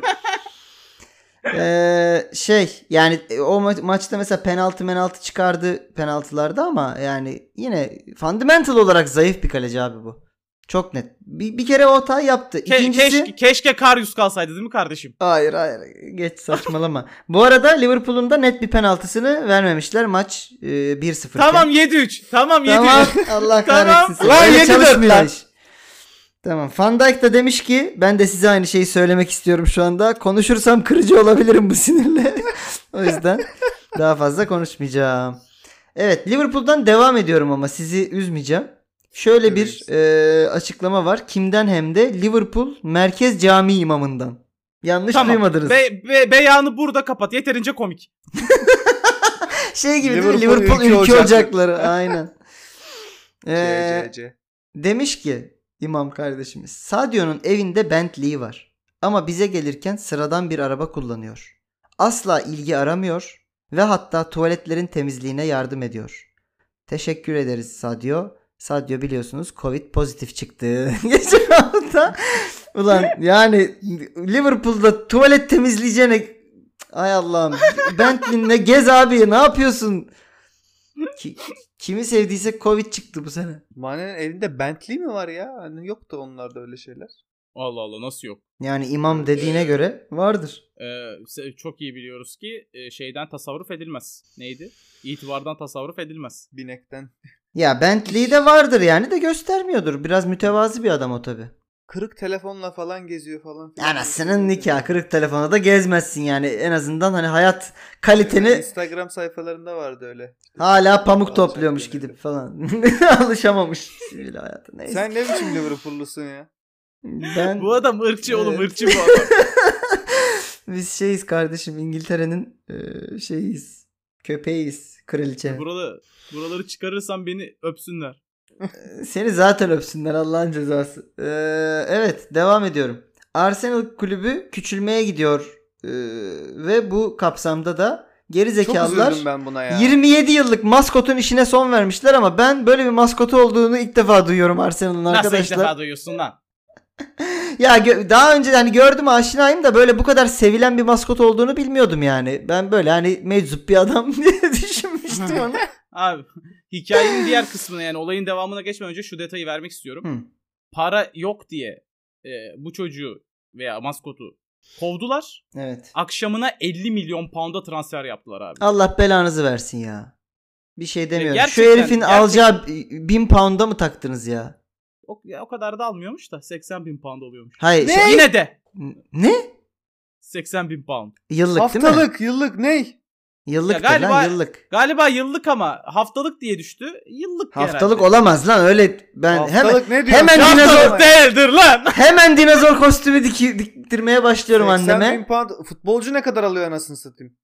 Speaker 1: Ee, şey yani o ma- maçta mesela penaltı penaltı çıkardı penaltılarda ama yani yine fundamental olarak zayıf bir kaleci abi bu. Çok net. Bir, bir kere o hatayı yaptı.
Speaker 2: Ke-
Speaker 1: İkincisi
Speaker 2: keşke, keşke Karius kalsaydı değil mi kardeşim?
Speaker 1: Hayır hayır geç saçmalama. bu arada Liverpool'un da net bir penaltısını vermemişler maç e, 1-0. iken.
Speaker 2: Tamam 7-3. Tamam 7-3.
Speaker 1: Tamam Allah
Speaker 2: Tamam.
Speaker 1: kahretsin. seni.
Speaker 3: Lan
Speaker 1: Öyle
Speaker 3: yedi dört
Speaker 1: çalışmıyor
Speaker 3: lan.
Speaker 1: iş. Tamam. Van Dijk da demiş ki ben de size aynı şeyi söylemek istiyorum şu anda. Konuşursam kırıcı olabilirim bu sinirle. o yüzden daha fazla konuşmayacağım. Evet Liverpool'dan devam ediyorum ama sizi üzmeyeceğim. Şöyle bir e, açıklama var. Kimden hem de Liverpool Merkez Cami imamından. Yanlış duymadınız.
Speaker 2: Be- be- beyanı burada kapat. Yeterince komik.
Speaker 1: şey gibi değil mi?
Speaker 3: Liverpool
Speaker 1: Liverpool
Speaker 3: ülke
Speaker 1: ülke,
Speaker 3: ocakları.
Speaker 1: ocakları. Aynen. Ee,
Speaker 3: C, C, C.
Speaker 1: Demiş ki imam kardeşimiz Sadio'nun evinde Bentley'i var ama bize gelirken sıradan bir araba kullanıyor. Asla ilgi aramıyor ve hatta tuvaletlerin temizliğine yardım ediyor. Teşekkür ederiz Sadio. Sadio biliyorsunuz Covid pozitif çıktı. Geçen hafta. Ulan yani Liverpool'da tuvalet temizleyeceğine ay Allah'ım Bentley'inle gez abi ne yapıyorsun? Ki- kimi sevdiyse Covid çıktı bu sene.
Speaker 3: Mane'nin evinde Bentley mi var ya? Hani yoktu onlarda öyle şeyler.
Speaker 2: Allah Allah nasıl yok?
Speaker 1: Yani imam dediğine göre vardır.
Speaker 2: Ee, se- çok iyi biliyoruz ki e, şeyden tasarruf edilmez. Neydi? İtibardan tasarruf edilmez.
Speaker 3: Binekten.
Speaker 1: Ya Bentley de vardır yani de göstermiyordur. Biraz mütevazi bir adam o tabi.
Speaker 3: Kırık telefonla falan geziyor falan. filan. Ee,
Speaker 1: Anasının nikahı kırık telefona da gezmezsin yani. En azından hani hayat kaliteni
Speaker 3: Instagram sayfalarında vardı öyle.
Speaker 1: hala pamuk
Speaker 3: Alçak
Speaker 1: topluyormuş
Speaker 3: gönüllü.
Speaker 1: gidip falan. Alışamamış sivil hayata. Neyse.
Speaker 3: Sen ne biçim Liverpool'lusun ya?
Speaker 1: Ben
Speaker 2: Bu adam ırkçı oğlum
Speaker 1: Evet.
Speaker 2: ırkçı bu adam.
Speaker 1: biz şeyiz kardeşim İngiltere'nin e, şeyiz. Köpeğiz kraliçe.
Speaker 2: Buraları, buraları çıkarırsan beni öpsünler.
Speaker 1: Seni zaten öpsünler Allah'ın cezası. Ee, evet devam ediyorum. Arsenal kulübü küçülmeye gidiyor ee, ve bu kapsamda da geri
Speaker 3: Çok
Speaker 1: zekalılar
Speaker 3: üzüldüm ben buna ya.
Speaker 1: 27 yıllık maskotun işine son vermişler ama ben böyle bir maskotu olduğunu ilk defa duyuyorum Arsenal'ın
Speaker 2: Nasıl ilk
Speaker 1: arkadaşlar.
Speaker 2: defa duyuyorsun lan?
Speaker 1: Ya gö- daha önce hani gördüm aşinayım da böyle bu kadar sevilen bir maskot olduğunu bilmiyordum yani. Ben böyle hani meczup bir adam diye düşünmüştüm onu.
Speaker 2: Abi hikayenin diğer kısmına yani olayın devamına geçmeden önce şu detayı vermek istiyorum.
Speaker 1: Hı.
Speaker 2: Para yok diye e, bu çocuğu veya maskotu kovdular.
Speaker 1: Evet.
Speaker 2: Akşamına 50 milyon pound'a transfer yaptılar abi.
Speaker 1: Allah belanızı versin ya. Bir şey demiyorum. Şu
Speaker 2: gerçekten-
Speaker 1: herifin
Speaker 2: gerçekten-
Speaker 1: alacağı bin pound'a mı taktınız ya?
Speaker 2: O, ya o kadar da almıyormuş da 80 bin pound oluyormuş.
Speaker 1: Hayır.
Speaker 3: Ne?
Speaker 1: şey-
Speaker 2: Yine de
Speaker 1: ne?
Speaker 2: 80 bin pound.
Speaker 1: Yıllık değil mi?
Speaker 3: Haftalık, yıllık ney?
Speaker 1: Yıllık
Speaker 2: Ya
Speaker 1: da lan
Speaker 2: galiba-
Speaker 1: yıllık.
Speaker 2: Galiba yıllık ama haftalık diye düştü. Yıllık
Speaker 1: Haftalık
Speaker 2: herhalde.
Speaker 1: olamaz lan öyle ben hemen
Speaker 3: Haftalık ne diyor?
Speaker 1: hemen
Speaker 3: Ya
Speaker 1: dinozor-
Speaker 3: haftalık
Speaker 2: Haftalık
Speaker 3: ne?
Speaker 2: değildir lan.
Speaker 1: hemen dinozor kostümü diki- diktirmeye başlıyorum
Speaker 3: 80
Speaker 1: anneme.
Speaker 3: bin pound. Futbolcu ne kadar alıyor anasını satayım?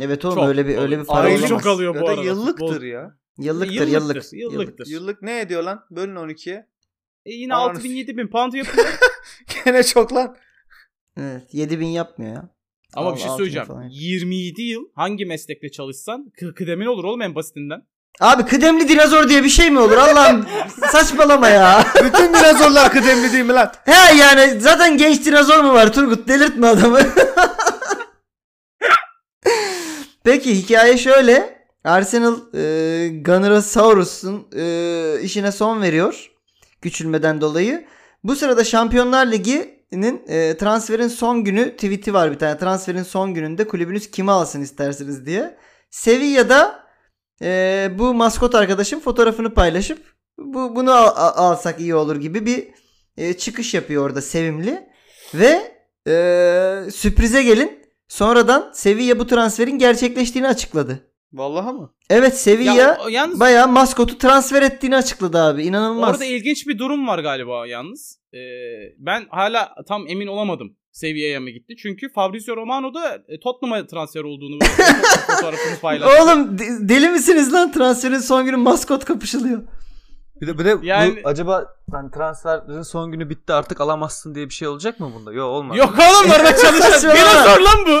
Speaker 1: Evet oğlum
Speaker 2: Çok
Speaker 1: öyle bir öyle
Speaker 2: alıyor.
Speaker 1: bir para
Speaker 2: Parayı
Speaker 3: Aylık
Speaker 1: olamaz.
Speaker 2: çok alıyor bu
Speaker 3: ya da
Speaker 2: arada.
Speaker 3: yıllıktır
Speaker 2: Futbol-
Speaker 3: ya.
Speaker 1: Yıllıktır,
Speaker 2: Yıllıktır,
Speaker 1: yıllık.
Speaker 2: yıllıktır.
Speaker 3: Yıllık ne ediyor lan? Bölün 12'ye.
Speaker 2: E yine
Speaker 3: Ananı
Speaker 2: 6 bin 7 bin pound yapıyor.
Speaker 3: Gene çok lan.
Speaker 1: Evet, 7000 yapmıyor ya.
Speaker 2: Ama bir şey
Speaker 1: Altı bin
Speaker 2: söyleyeceğim.
Speaker 1: falan.
Speaker 2: 27 yıl hangi meslekte çalışsan kı- kıdemin olur oğlum en basitinden.
Speaker 1: Abi kıdemli dinozor diye bir şey mi olur? Allah'ım saçmalama ya.
Speaker 3: Bütün dinozorlar kıdemli değil mi lan?
Speaker 1: He yani zaten genç dinozor mu var Turgut? Delirtme adamı. Peki hikaye şöyle. Arsenal e, Gunnerosaurus'un e, işine son veriyor. Küçülmeden dolayı. Bu sırada Şampiyonlar Ligi'nin e, transferin son günü tweet'i var bir tane. Transferin son gününde kulübünüz kimi alsın istersiniz diye. Sevilla'da e, bu maskot arkadaşım fotoğrafını paylaşıp bu bunu al- a- alsak iyi olur gibi bir e, çıkış yapıyor orada sevimli. Ve e, sürprize gelin sonradan Sevilla bu transferin gerçekleştiğini açıkladı.
Speaker 3: Vallahi mı?
Speaker 1: Evet
Speaker 2: Ya,
Speaker 1: Sevilla
Speaker 2: o- yalnız
Speaker 1: bayağı maskotu transfer ettiğini açıkladı abi. İnanılmaz.
Speaker 2: orada ilginç bir durum var galiba yalnız. Ee, ben hala tam emin olamadım seviyeye mi gitti. Çünkü Fabrizio Romano da e, Tottenham'a transfer olduğunu fotoğrafını paylaştı.
Speaker 1: Oğlum de- deli misiniz lan? Transferin son günü maskot kapışılıyor.
Speaker 4: Bir de, bir de
Speaker 2: Yani-
Speaker 4: bu, acaba hani transferlerin son günü bitti artık alamazsın diye bir şey olacak mı bunda? Yok olmaz.
Speaker 2: Yok oğlum orada çalışan
Speaker 1: Saçmalama.
Speaker 2: dinozor lan bu.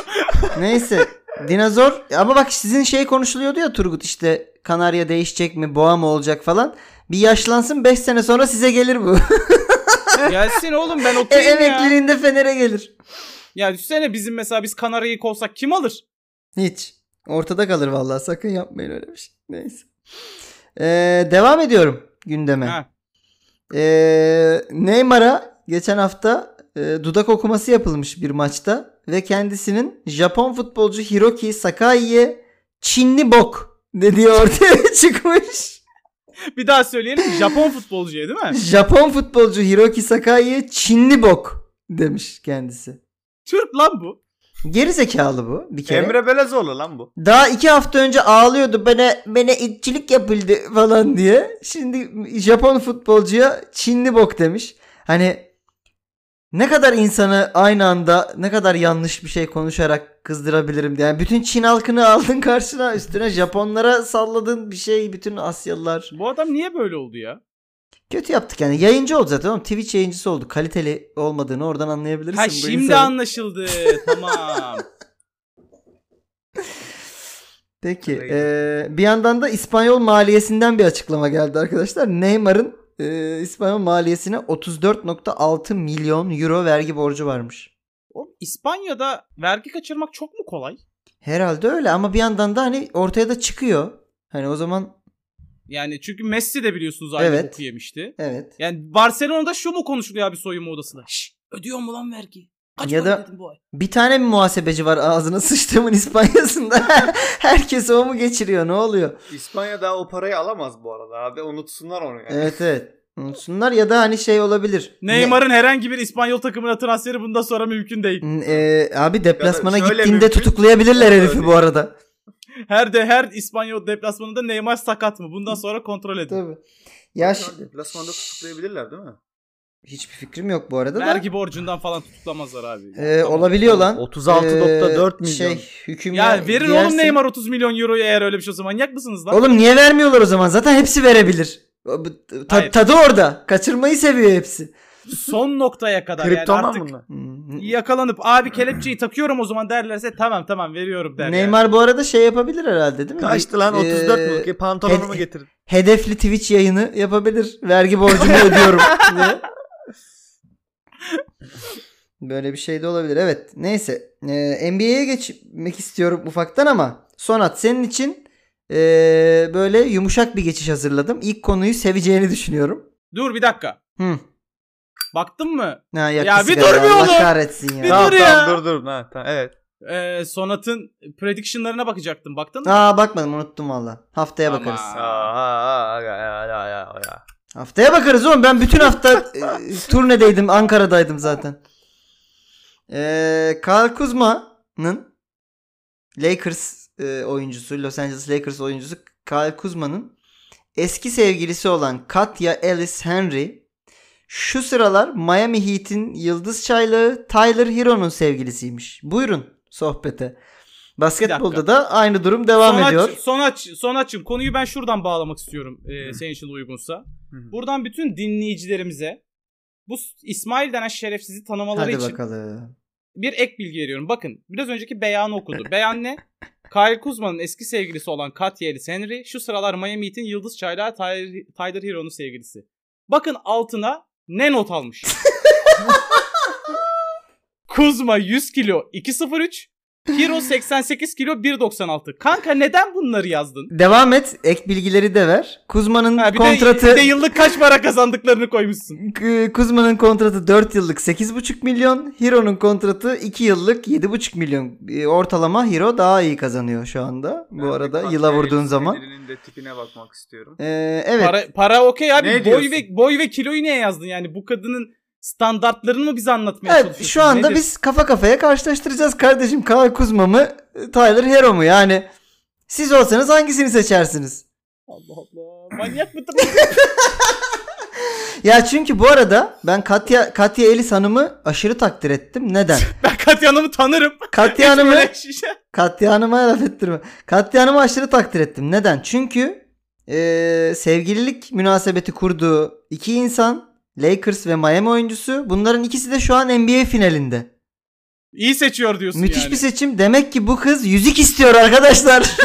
Speaker 1: Neyse Dinozor ama bak sizin şey konuşuluyordu ya Turgut işte Kanarya değişecek mi boğa mı olacak falan. Bir yaşlansın 5 sene sonra size gelir bu.
Speaker 2: Gelsin oğlum ben
Speaker 1: E,
Speaker 2: okuyayım ya.
Speaker 1: emekliliğinde Fener'e gelir.
Speaker 2: Ya düşünsene bizim mesela biz Kanarya'yı kovsak kim alır?
Speaker 1: Hiç. Ortada kalır vallahi sakın yapmayın öyle bir şey. Neyse. Ee, devam ediyorum gündeme.
Speaker 2: Ha.
Speaker 1: Ee, Neymar'a geçen hafta e, dudak okuması yapılmış bir maçta ve kendisinin Japon futbolcu Hiroki Sakai'ye Çinli bok dediği ortaya çıkmış.
Speaker 2: Bir daha söyleyelim Japon futbolcuya değil mi?
Speaker 1: Japon futbolcu Hiroki Sakai'ye Çinli bok demiş kendisi.
Speaker 2: Türk lan bu.
Speaker 1: Geri zekalı bu bir kere.
Speaker 4: Emre Belezoğlu lan bu.
Speaker 1: Daha iki hafta önce ağlıyordu bana bana itçilik yapıldı falan diye. Şimdi Japon futbolcuya Çinli bok demiş. Hani ne kadar insanı aynı anda ne kadar yanlış bir şey konuşarak kızdırabilirim diye. Yani bütün Çin halkını aldın karşına üstüne Japonlara salladın bir şey bütün Asyalılar.
Speaker 2: Bu adam niye böyle oldu ya?
Speaker 1: Kötü yaptık yani. Yayıncı oldu zaten oğlum. Twitch yayıncısı oldu. Kaliteli olmadığını oradan anlayabilirsin.
Speaker 2: Ha
Speaker 1: bu
Speaker 2: şimdi
Speaker 1: insanın.
Speaker 2: anlaşıldı. tamam.
Speaker 1: Peki. eee, bir yandan da İspanyol maliyesinden bir açıklama geldi arkadaşlar. Neymar'ın eee, İspanyol maliyesine 34.6 milyon euro vergi borcu varmış.
Speaker 2: Oğlum İspanya'da vergi kaçırmak çok mu kolay?
Speaker 1: Herhalde öyle ama bir yandan da hani ortaya da çıkıyor. Hani o zaman
Speaker 2: Yani çünkü Messi de biliyorsunuz aynı
Speaker 1: Evet.
Speaker 2: boku yemişti.
Speaker 1: evet.
Speaker 2: Yani Barcelona'da şu mu konuşuluyor abi soyunma odasında? Şşş ödüyor mu lan vergi? Kaç
Speaker 1: Ya
Speaker 2: ya
Speaker 1: da-
Speaker 2: bu ay?
Speaker 1: Bir tane mi muhasebeci var ağzına sıçtığımın İspanya'sında? Herkes o mu geçiriyor? Ne oluyor?
Speaker 3: İspanya daha o parayı alamaz bu arada abi. Unutsunlar onu yani.
Speaker 1: Evet evet. Unutsunlar ya da hani şey olabilir.
Speaker 2: Neymar'ın herhangi bir İspanyol takımına transferi bundan sonra mümkün değil.
Speaker 1: Ne- Eee, abi deplasmana
Speaker 3: şöyle
Speaker 1: gittiğinde
Speaker 3: mümkün.
Speaker 1: tutuklayabilirler herifi bu arada.
Speaker 2: Her de her İspanyol deplasmanında Neymar sakat mı? Bundan sonra kontrol edin.
Speaker 1: Tabii. Ya şi-
Speaker 3: Şu an Deplasmanda tutuklayabilirler değil mi?
Speaker 1: hiçbir fikrim yok bu arada da.
Speaker 2: Vergi borcundan falan tutuklamazlar abi.
Speaker 1: Ee,
Speaker 2: Tamam.
Speaker 1: olabiliyor lan.
Speaker 4: 36.4 milyon.
Speaker 1: Şey, hüküm
Speaker 2: Ya verin oğlum Neymar 30 milyon euroyu eğer öyle bir şey olsa manyak mısınız lan?
Speaker 1: Oğlum niye vermiyorlar o zaman? Zaten hepsi verebilir. O- bu- ta-
Speaker 2: Hayır.
Speaker 1: tadı orada. Kaçırmayı seviyor hepsi.
Speaker 2: Son noktaya kadar yani
Speaker 4: Kriptondan
Speaker 2: artık
Speaker 4: bunlar.
Speaker 1: Hmm.
Speaker 2: yakalanıp abi kelepçeyi takıyorum o zaman derlerse tamam tamam veriyorum der. yani.
Speaker 1: Neymar bu arada şey yapabilir herhalde değil mi?
Speaker 4: Kaçtı lan
Speaker 1: Ee,
Speaker 4: 34 mu? Ki Pantolonumu
Speaker 1: hed-
Speaker 4: getirdim.
Speaker 1: Hedefli Twitch yayını yapabilir. Vergi borcumu ödüyorum. diye. Böyle bir şey de olabilir. Evet. Neyse. Ee, NBA'ye geçmek istiyorum ufaktan ama Sonat senin için ee, böyle yumuşak bir geçiş hazırladım. İlk konuyu seveceğini düşünüyorum.
Speaker 2: Dur bir dakika.
Speaker 1: Hı.
Speaker 2: Baktın mı?
Speaker 1: Ha, ya,
Speaker 2: Ya bir
Speaker 1: sigara.
Speaker 2: dur bir
Speaker 1: Allah
Speaker 2: oğlum.
Speaker 1: kahretsin ya.
Speaker 2: Bir
Speaker 4: Tamam
Speaker 2: dur ya.
Speaker 4: tamam dur dur. Ha, tamam, evet.
Speaker 2: Ee, Sonat'ın prediction'larına bakacaktım. Baktın mı?
Speaker 1: Aa bakmadım unuttum valla. Haftaya
Speaker 2: Aman.
Speaker 1: bakarız.
Speaker 4: Aa, aa, aa, ya, ya, ya, ya.
Speaker 1: Haftaya bakarız oğlum. Ben bütün hafta e, turnedeydim. Ankara'daydım zaten. Ee, Kyle Kuzma'nın Lakers e, oyuncusu, Los Angeles Lakers oyuncusu Kyle Kuzma'nın eski sevgilisi olan Katya Ellis Henry şu sıralar Miami Heat'in yıldız çaylağı Tyler Hero'nun sevgilisiymiş. Buyurun sohbete. Basketbolda da aynı durum devam
Speaker 2: Sonaç-
Speaker 1: ediyor.
Speaker 2: Sonaç, Sonaç'ım konuyu ben şuradan bağlamak istiyorum e, senin için de uygunsa. Buradan bütün dinleyicilerimize bu İsmail denen şerefsizi tanımaları
Speaker 1: Hadi
Speaker 2: için
Speaker 1: bakalım.
Speaker 2: bir ek bilgi veriyorum. Bakın biraz önceki beyanı okudu. Beyan ne? Kyle Kuzma'nın eski sevgilisi olan Katya Ellis Henry şu sıralar Miami Heat'in yıldız çaylağı Tyler, Tyler Hero'nun sevgilisi. Bakın altına ne not almış. Kuzma 100 kilo 2.03 Hero 88 kilo 1.96 Kanka neden bunları yazdın?
Speaker 1: Devam et. Ek bilgileri de ver. Kuzma'nın
Speaker 2: Ha, bir,
Speaker 1: kontratı
Speaker 2: de, bir de yıllık kaç para kazandıklarını koymuşsun.
Speaker 1: K- Kuzma'nın kontratı 4 yıllık 8,5 milyon. Hiro'nun kontratı 2 yıllık 7,5 milyon. E, Ortalama Hiro daha iyi kazanıyor şu anda. Bu arada yıla vurduğun zaman.
Speaker 3: Elinin de tipine bakmak istiyorum.
Speaker 1: Ee, evet.
Speaker 2: Para, para okey abi.
Speaker 3: Ne
Speaker 2: boy
Speaker 3: diyorsun?
Speaker 2: ve boy ve kiloyu niye yazdın yani? Bu kadının standartlarını mı bize anlatmaya
Speaker 1: Evet,
Speaker 2: çalışıyorsun?
Speaker 1: şu anda
Speaker 2: Nedir?
Speaker 1: biz kafa kafaya karşılaştıracağız kardeşim. Kyle Kuzma mı? Tyler Hero mu? Yani siz olsanız hangisini seçersiniz?
Speaker 2: Allah Allah. Manyak mıdır?
Speaker 1: Ya çünkü bu arada ben Katya Katya Elis Hanım'ı aşırı takdir ettim. Neden?
Speaker 2: ben Katya Hanım'ı tanırım.
Speaker 1: Katya Hanım'ı
Speaker 2: Böyle şişe.
Speaker 1: Katya Hanım'a laf ettirme. Katya Hanım'ı aşırı takdir ettim. Neden? Çünkü eee, sevgililik münasebeti kurduğu iki insan Lakers ve Miami oyuncusu. Bunların ikisi de şu an NBA finalinde.
Speaker 2: İyi seçiyor diyorsun
Speaker 1: Müthiş
Speaker 2: yani.
Speaker 1: bir seçim. Demek ki bu kız yüzük istiyor arkadaşlar.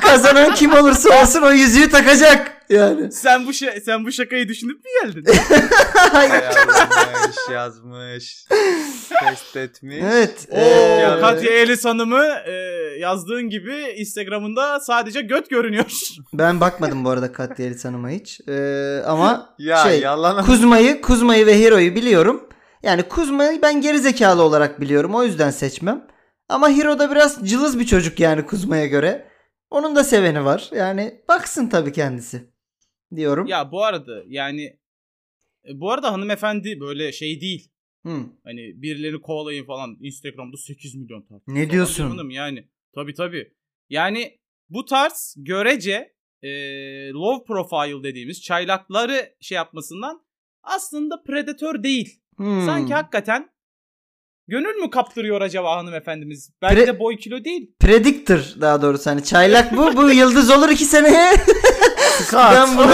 Speaker 1: Kazanan kim olursa olsun o yüzüğü takacak. Yani.
Speaker 2: Sen bu şey, sen bu şakayı düşünüp mi geldin?
Speaker 3: yazmış, yazmış. Test etmiş.
Speaker 1: Evet. e,
Speaker 2: Oo,
Speaker 1: eee,
Speaker 2: Katya Elis Hanım'ı e, yazdığın gibi Instagram'ında sadece göt görünüyor.
Speaker 1: ben bakmadım bu arada Katya Elis Hanım'a hiç. Eee, ama
Speaker 3: Ya
Speaker 1: şey,
Speaker 3: yalan.
Speaker 1: Kuzma'yı, Kuzma'yı ve Hero'yu biliyorum. Yani Kuzma'yı ben geri zekalı olarak biliyorum. O yüzden seçmem. Ama Hero da biraz cılız bir çocuk yani Kuzma'ya göre. Onun da seveni var. Yani baksın tabii kendisi. Diyorum.
Speaker 2: ya bu arada yani e, bu arada hanımefendi böyle şey değil.
Speaker 1: Hı.
Speaker 2: Hani birilerini kovalayın falan Instagram'da 8 milyon takip.
Speaker 1: Ne
Speaker 2: falan
Speaker 1: diyorsun?
Speaker 2: canım yani. Tabii tabii. Yani bu tarz görece e, love profile dediğimiz çaylakları şey yapmasından aslında predatör değil.
Speaker 1: Hmm.
Speaker 2: Sanki hakikaten gönül mü kaptırıyor acaba hanımefendimiz? Belki
Speaker 1: Pre-
Speaker 2: de boy kilo değil.
Speaker 1: Predictor daha doğrusu hani çaylak bu. Bu yıldız olur iki seneye. ben bunu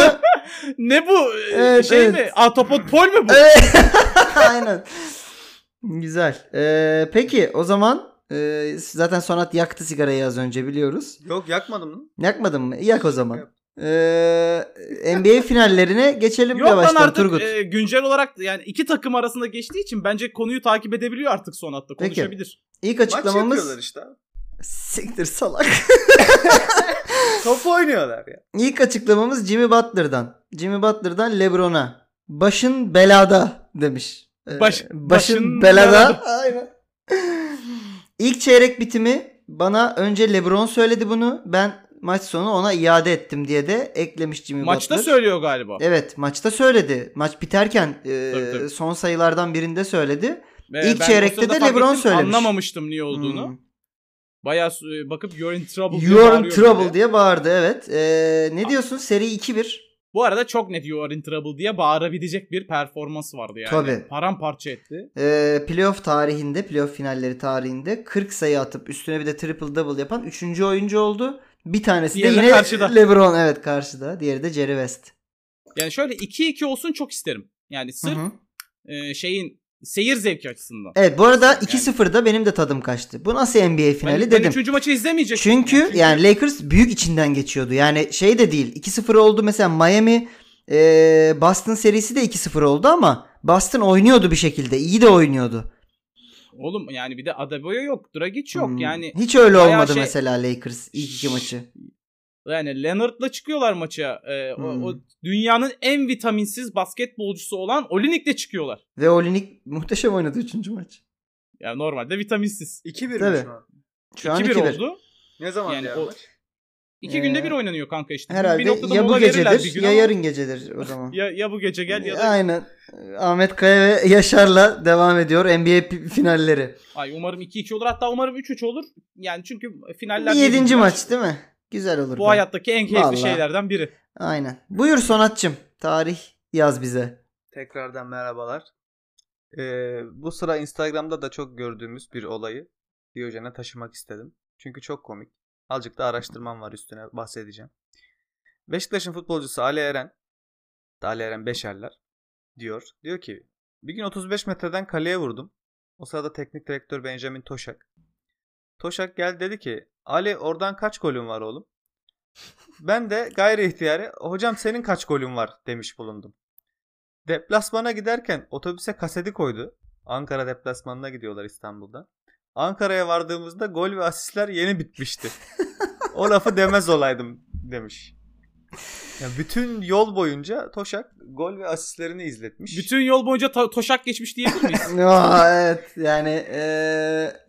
Speaker 2: ne bu? Ee,
Speaker 1: Evet,
Speaker 2: şey
Speaker 1: evet.
Speaker 2: mi? Atopot pol mu bu?
Speaker 1: Evet. Aynen. Güzel. Ee, peki o zaman e, zaten Sonat yaktı sigarayı az önce biliyoruz.
Speaker 3: Yok yakmadım mı?
Speaker 1: Yakmadın mı? Yak o zaman. Ee, NBA finallerine geçelim
Speaker 2: Yok lan
Speaker 1: yavaştan
Speaker 2: artık
Speaker 1: Turgut.
Speaker 2: e, güncel olarak da yani iki takım arasında geçtiği için bence konuyu takip edebiliyor artık son hatta
Speaker 1: Peki.
Speaker 2: konuşabilir.
Speaker 1: İlk
Speaker 3: Maç yapıyorlar
Speaker 1: açıklamamız
Speaker 3: işte.
Speaker 1: siktir salak.
Speaker 3: Top oynuyorlar ya.
Speaker 1: İlk açıklamamız Jimmy Butler'dan. Jimmy Butler'dan LeBron'a. Başın belada demiş. Ee,
Speaker 2: Baş-
Speaker 1: başın,
Speaker 2: başın
Speaker 1: belada.
Speaker 2: belada.
Speaker 1: Aynen. İlk çeyrek bitimi bana önce LeBron söyledi bunu. Ben maç sonu ona iade ettim diye de eklemiş Jimmy
Speaker 2: Maçta
Speaker 1: Butler.
Speaker 2: söylüyor galiba.
Speaker 1: Evet maçta söyledi. Maç biterken e,
Speaker 2: Tabii, tabii.
Speaker 1: son sayılardan birinde söyledi.
Speaker 2: Ve
Speaker 1: İlk
Speaker 2: ben
Speaker 1: E, çeyrekte
Speaker 2: o sırada
Speaker 1: de
Speaker 2: fark
Speaker 1: LeBron
Speaker 2: ettim,
Speaker 1: söylemiş.
Speaker 2: Anlamamıştım niye olduğunu.
Speaker 1: Hmm.
Speaker 2: Bayağı su- e, bakıp you're in trouble diye
Speaker 1: You're in
Speaker 2: bağırıyor
Speaker 1: trouble
Speaker 2: böyle.
Speaker 1: diye bağırdı evet. Ee, ne diyorsun seri 2-1.
Speaker 2: Bu arada çok net you're in trouble diye bağırabilecek bir performans vardı yani.
Speaker 1: Tabii.
Speaker 2: Paramparça etti.
Speaker 1: Ee, playoff tarihinde, playoff finalleri tarihinde 40 sayı atıp üstüne bir de triple double yapan 3. oyuncu oldu. Bir tanesi
Speaker 2: Diğeri
Speaker 1: de
Speaker 2: de
Speaker 1: yine
Speaker 2: karşıda.
Speaker 1: LeBron evet karşıda. Diğeri de Jerry West.
Speaker 2: Yani şöyle 2-2 olsun çok isterim. Yani
Speaker 1: Hı
Speaker 2: sırf
Speaker 1: hı. E,
Speaker 2: e, şeyin seyir zevki açısından.
Speaker 1: Evet bu arada
Speaker 2: Yani.
Speaker 1: 2-0'da benim de tadım kaçtı. Bu nasıl NBA finali
Speaker 2: ben, Ben
Speaker 1: dedim.
Speaker 2: üçüncü maçı izlemeyecek.
Speaker 1: Çünkü yani Lakers büyük içinden geçiyordu. Yani şey de değil. 2-0 oldu mesela Miami e, Boston serisi de 2-0 oldu ama Boston oynuyordu bir şekilde. İyi de oynuyordu.
Speaker 2: Oğlum yani bir de Adebayo yok. Dragic yok.
Speaker 1: Hmm.
Speaker 2: Yani
Speaker 1: hiç öyle
Speaker 2: bayağı
Speaker 1: olmadı
Speaker 2: şey-
Speaker 1: mesela Lakers ilk iki maçı.
Speaker 2: yani Leonard'la çıkıyorlar maça. Ee, o,
Speaker 1: Hmm.
Speaker 2: o dünyanın en vitaminsiz basketbolcusu olan Olinik'le çıkıyorlar.
Speaker 1: Ve Olinik muhteşem oynadı 3. maç.
Speaker 2: Yani normalde vitaminsiz.
Speaker 3: 2-1
Speaker 1: Tabii.
Speaker 3: mi şu an?
Speaker 1: Şu an
Speaker 2: 2-1
Speaker 1: 2-1.
Speaker 2: oldu.
Speaker 3: Ne zaman
Speaker 2: Yani
Speaker 3: yani
Speaker 2: o-
Speaker 3: maç?
Speaker 2: İki
Speaker 1: Ee,
Speaker 2: günde bir oynanıyor kanka işte. Bir- bir
Speaker 1: Herhalde
Speaker 2: noktada
Speaker 1: ya bu
Speaker 2: mola verirler bir
Speaker 1: gecedir
Speaker 2: gün
Speaker 1: ya
Speaker 2: ama
Speaker 1: yarın Ee. gecedir o zaman.
Speaker 2: Ya, ya bu gece gel ya da
Speaker 1: Aynen. Ahmet Kaya ve Yaşar'la devam ediyor NBA pi- finalleri.
Speaker 2: ay umarım 2-2 olur hatta umarım 3-3 olur. Yani çünkü finaller
Speaker 1: Bir yedinci maç değil mi? Güzel olur.
Speaker 2: Bu
Speaker 1: da.
Speaker 2: hayattaki en keyifli
Speaker 1: Vallahi.
Speaker 2: şeylerden biri.
Speaker 1: Aynen. Buyur Sonatçım. Tarih yaz bize.
Speaker 3: Tekrardan merhabalar. Ee, bu sıra Instagram'da da çok gördüğümüz bir olayı Diyojen'e taşımak istedim. Çünkü çok komik. Azıcık da araştırmam var üstüne bahsedeceğim. Beşiktaş'ın futbolcusu Ali Eren, Ali Eren Beşerler diyor. Diyor ki bir gün 35 metreden kaleye vurdum. O sırada teknik direktör Benjamin Toşak. Toşak geldi dedi ki Ali oradan kaç golün var oğlum? Ben de gayri ihtiyari hocam senin kaç golün var demiş bulundum. Deplasmana giderken otobüse kaseti koydu. Ankara deplasmanına gidiyorlar İstanbul'da. Ankara'ya vardığımızda gol ve asistler yeni bitmişti. o lafı demez olaydım demiş. Ya bütün yol boyunca Toşak gol ve asistlerini izletmiş.
Speaker 2: Bütün yol boyunca to- toşak geçmiş diyebilir miyiz?
Speaker 1: Aa, evet yani eee,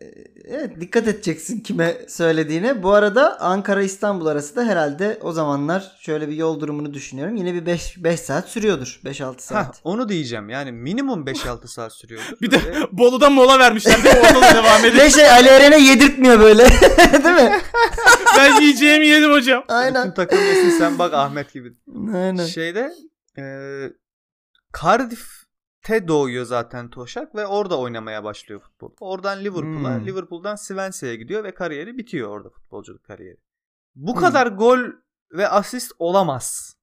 Speaker 1: evet dikkat edeceksin kime söylediğine. Bu arada Ankara İstanbul arası da herhalde o zamanlar şöyle bir yol durumunu düşünüyorum. Yine bir 5 saat sürüyordur. 5-6
Speaker 3: Hah,
Speaker 1: saat.
Speaker 3: onu diyeceğim. Yani minimum 5-6 saat sürüyordur.
Speaker 2: Bir de
Speaker 3: Ve
Speaker 2: Bolu'da mola vermişler. Bir Orada da devam ediyor.
Speaker 1: Ve şey Ali Eren'e yedirtmiyor böyle. Değil mi?
Speaker 2: Ben yiyeceğimi yedim hocam.
Speaker 1: Aynen.
Speaker 3: bütün takım desin sen bak Ahmet gibi.
Speaker 1: Aynen.
Speaker 3: Şeyde e, Cardiff'te doğuyor zaten Toşak ve orada oynamaya başlıyor futbol. Oradan Liverpool'a,
Speaker 1: Hmm.
Speaker 3: Liverpool'dan Swansea'ya gidiyor ve kariyeri bitiyor orada futbolculuk kariyeri. Bu
Speaker 1: Hmm.
Speaker 3: kadar gol ve asist olamaz.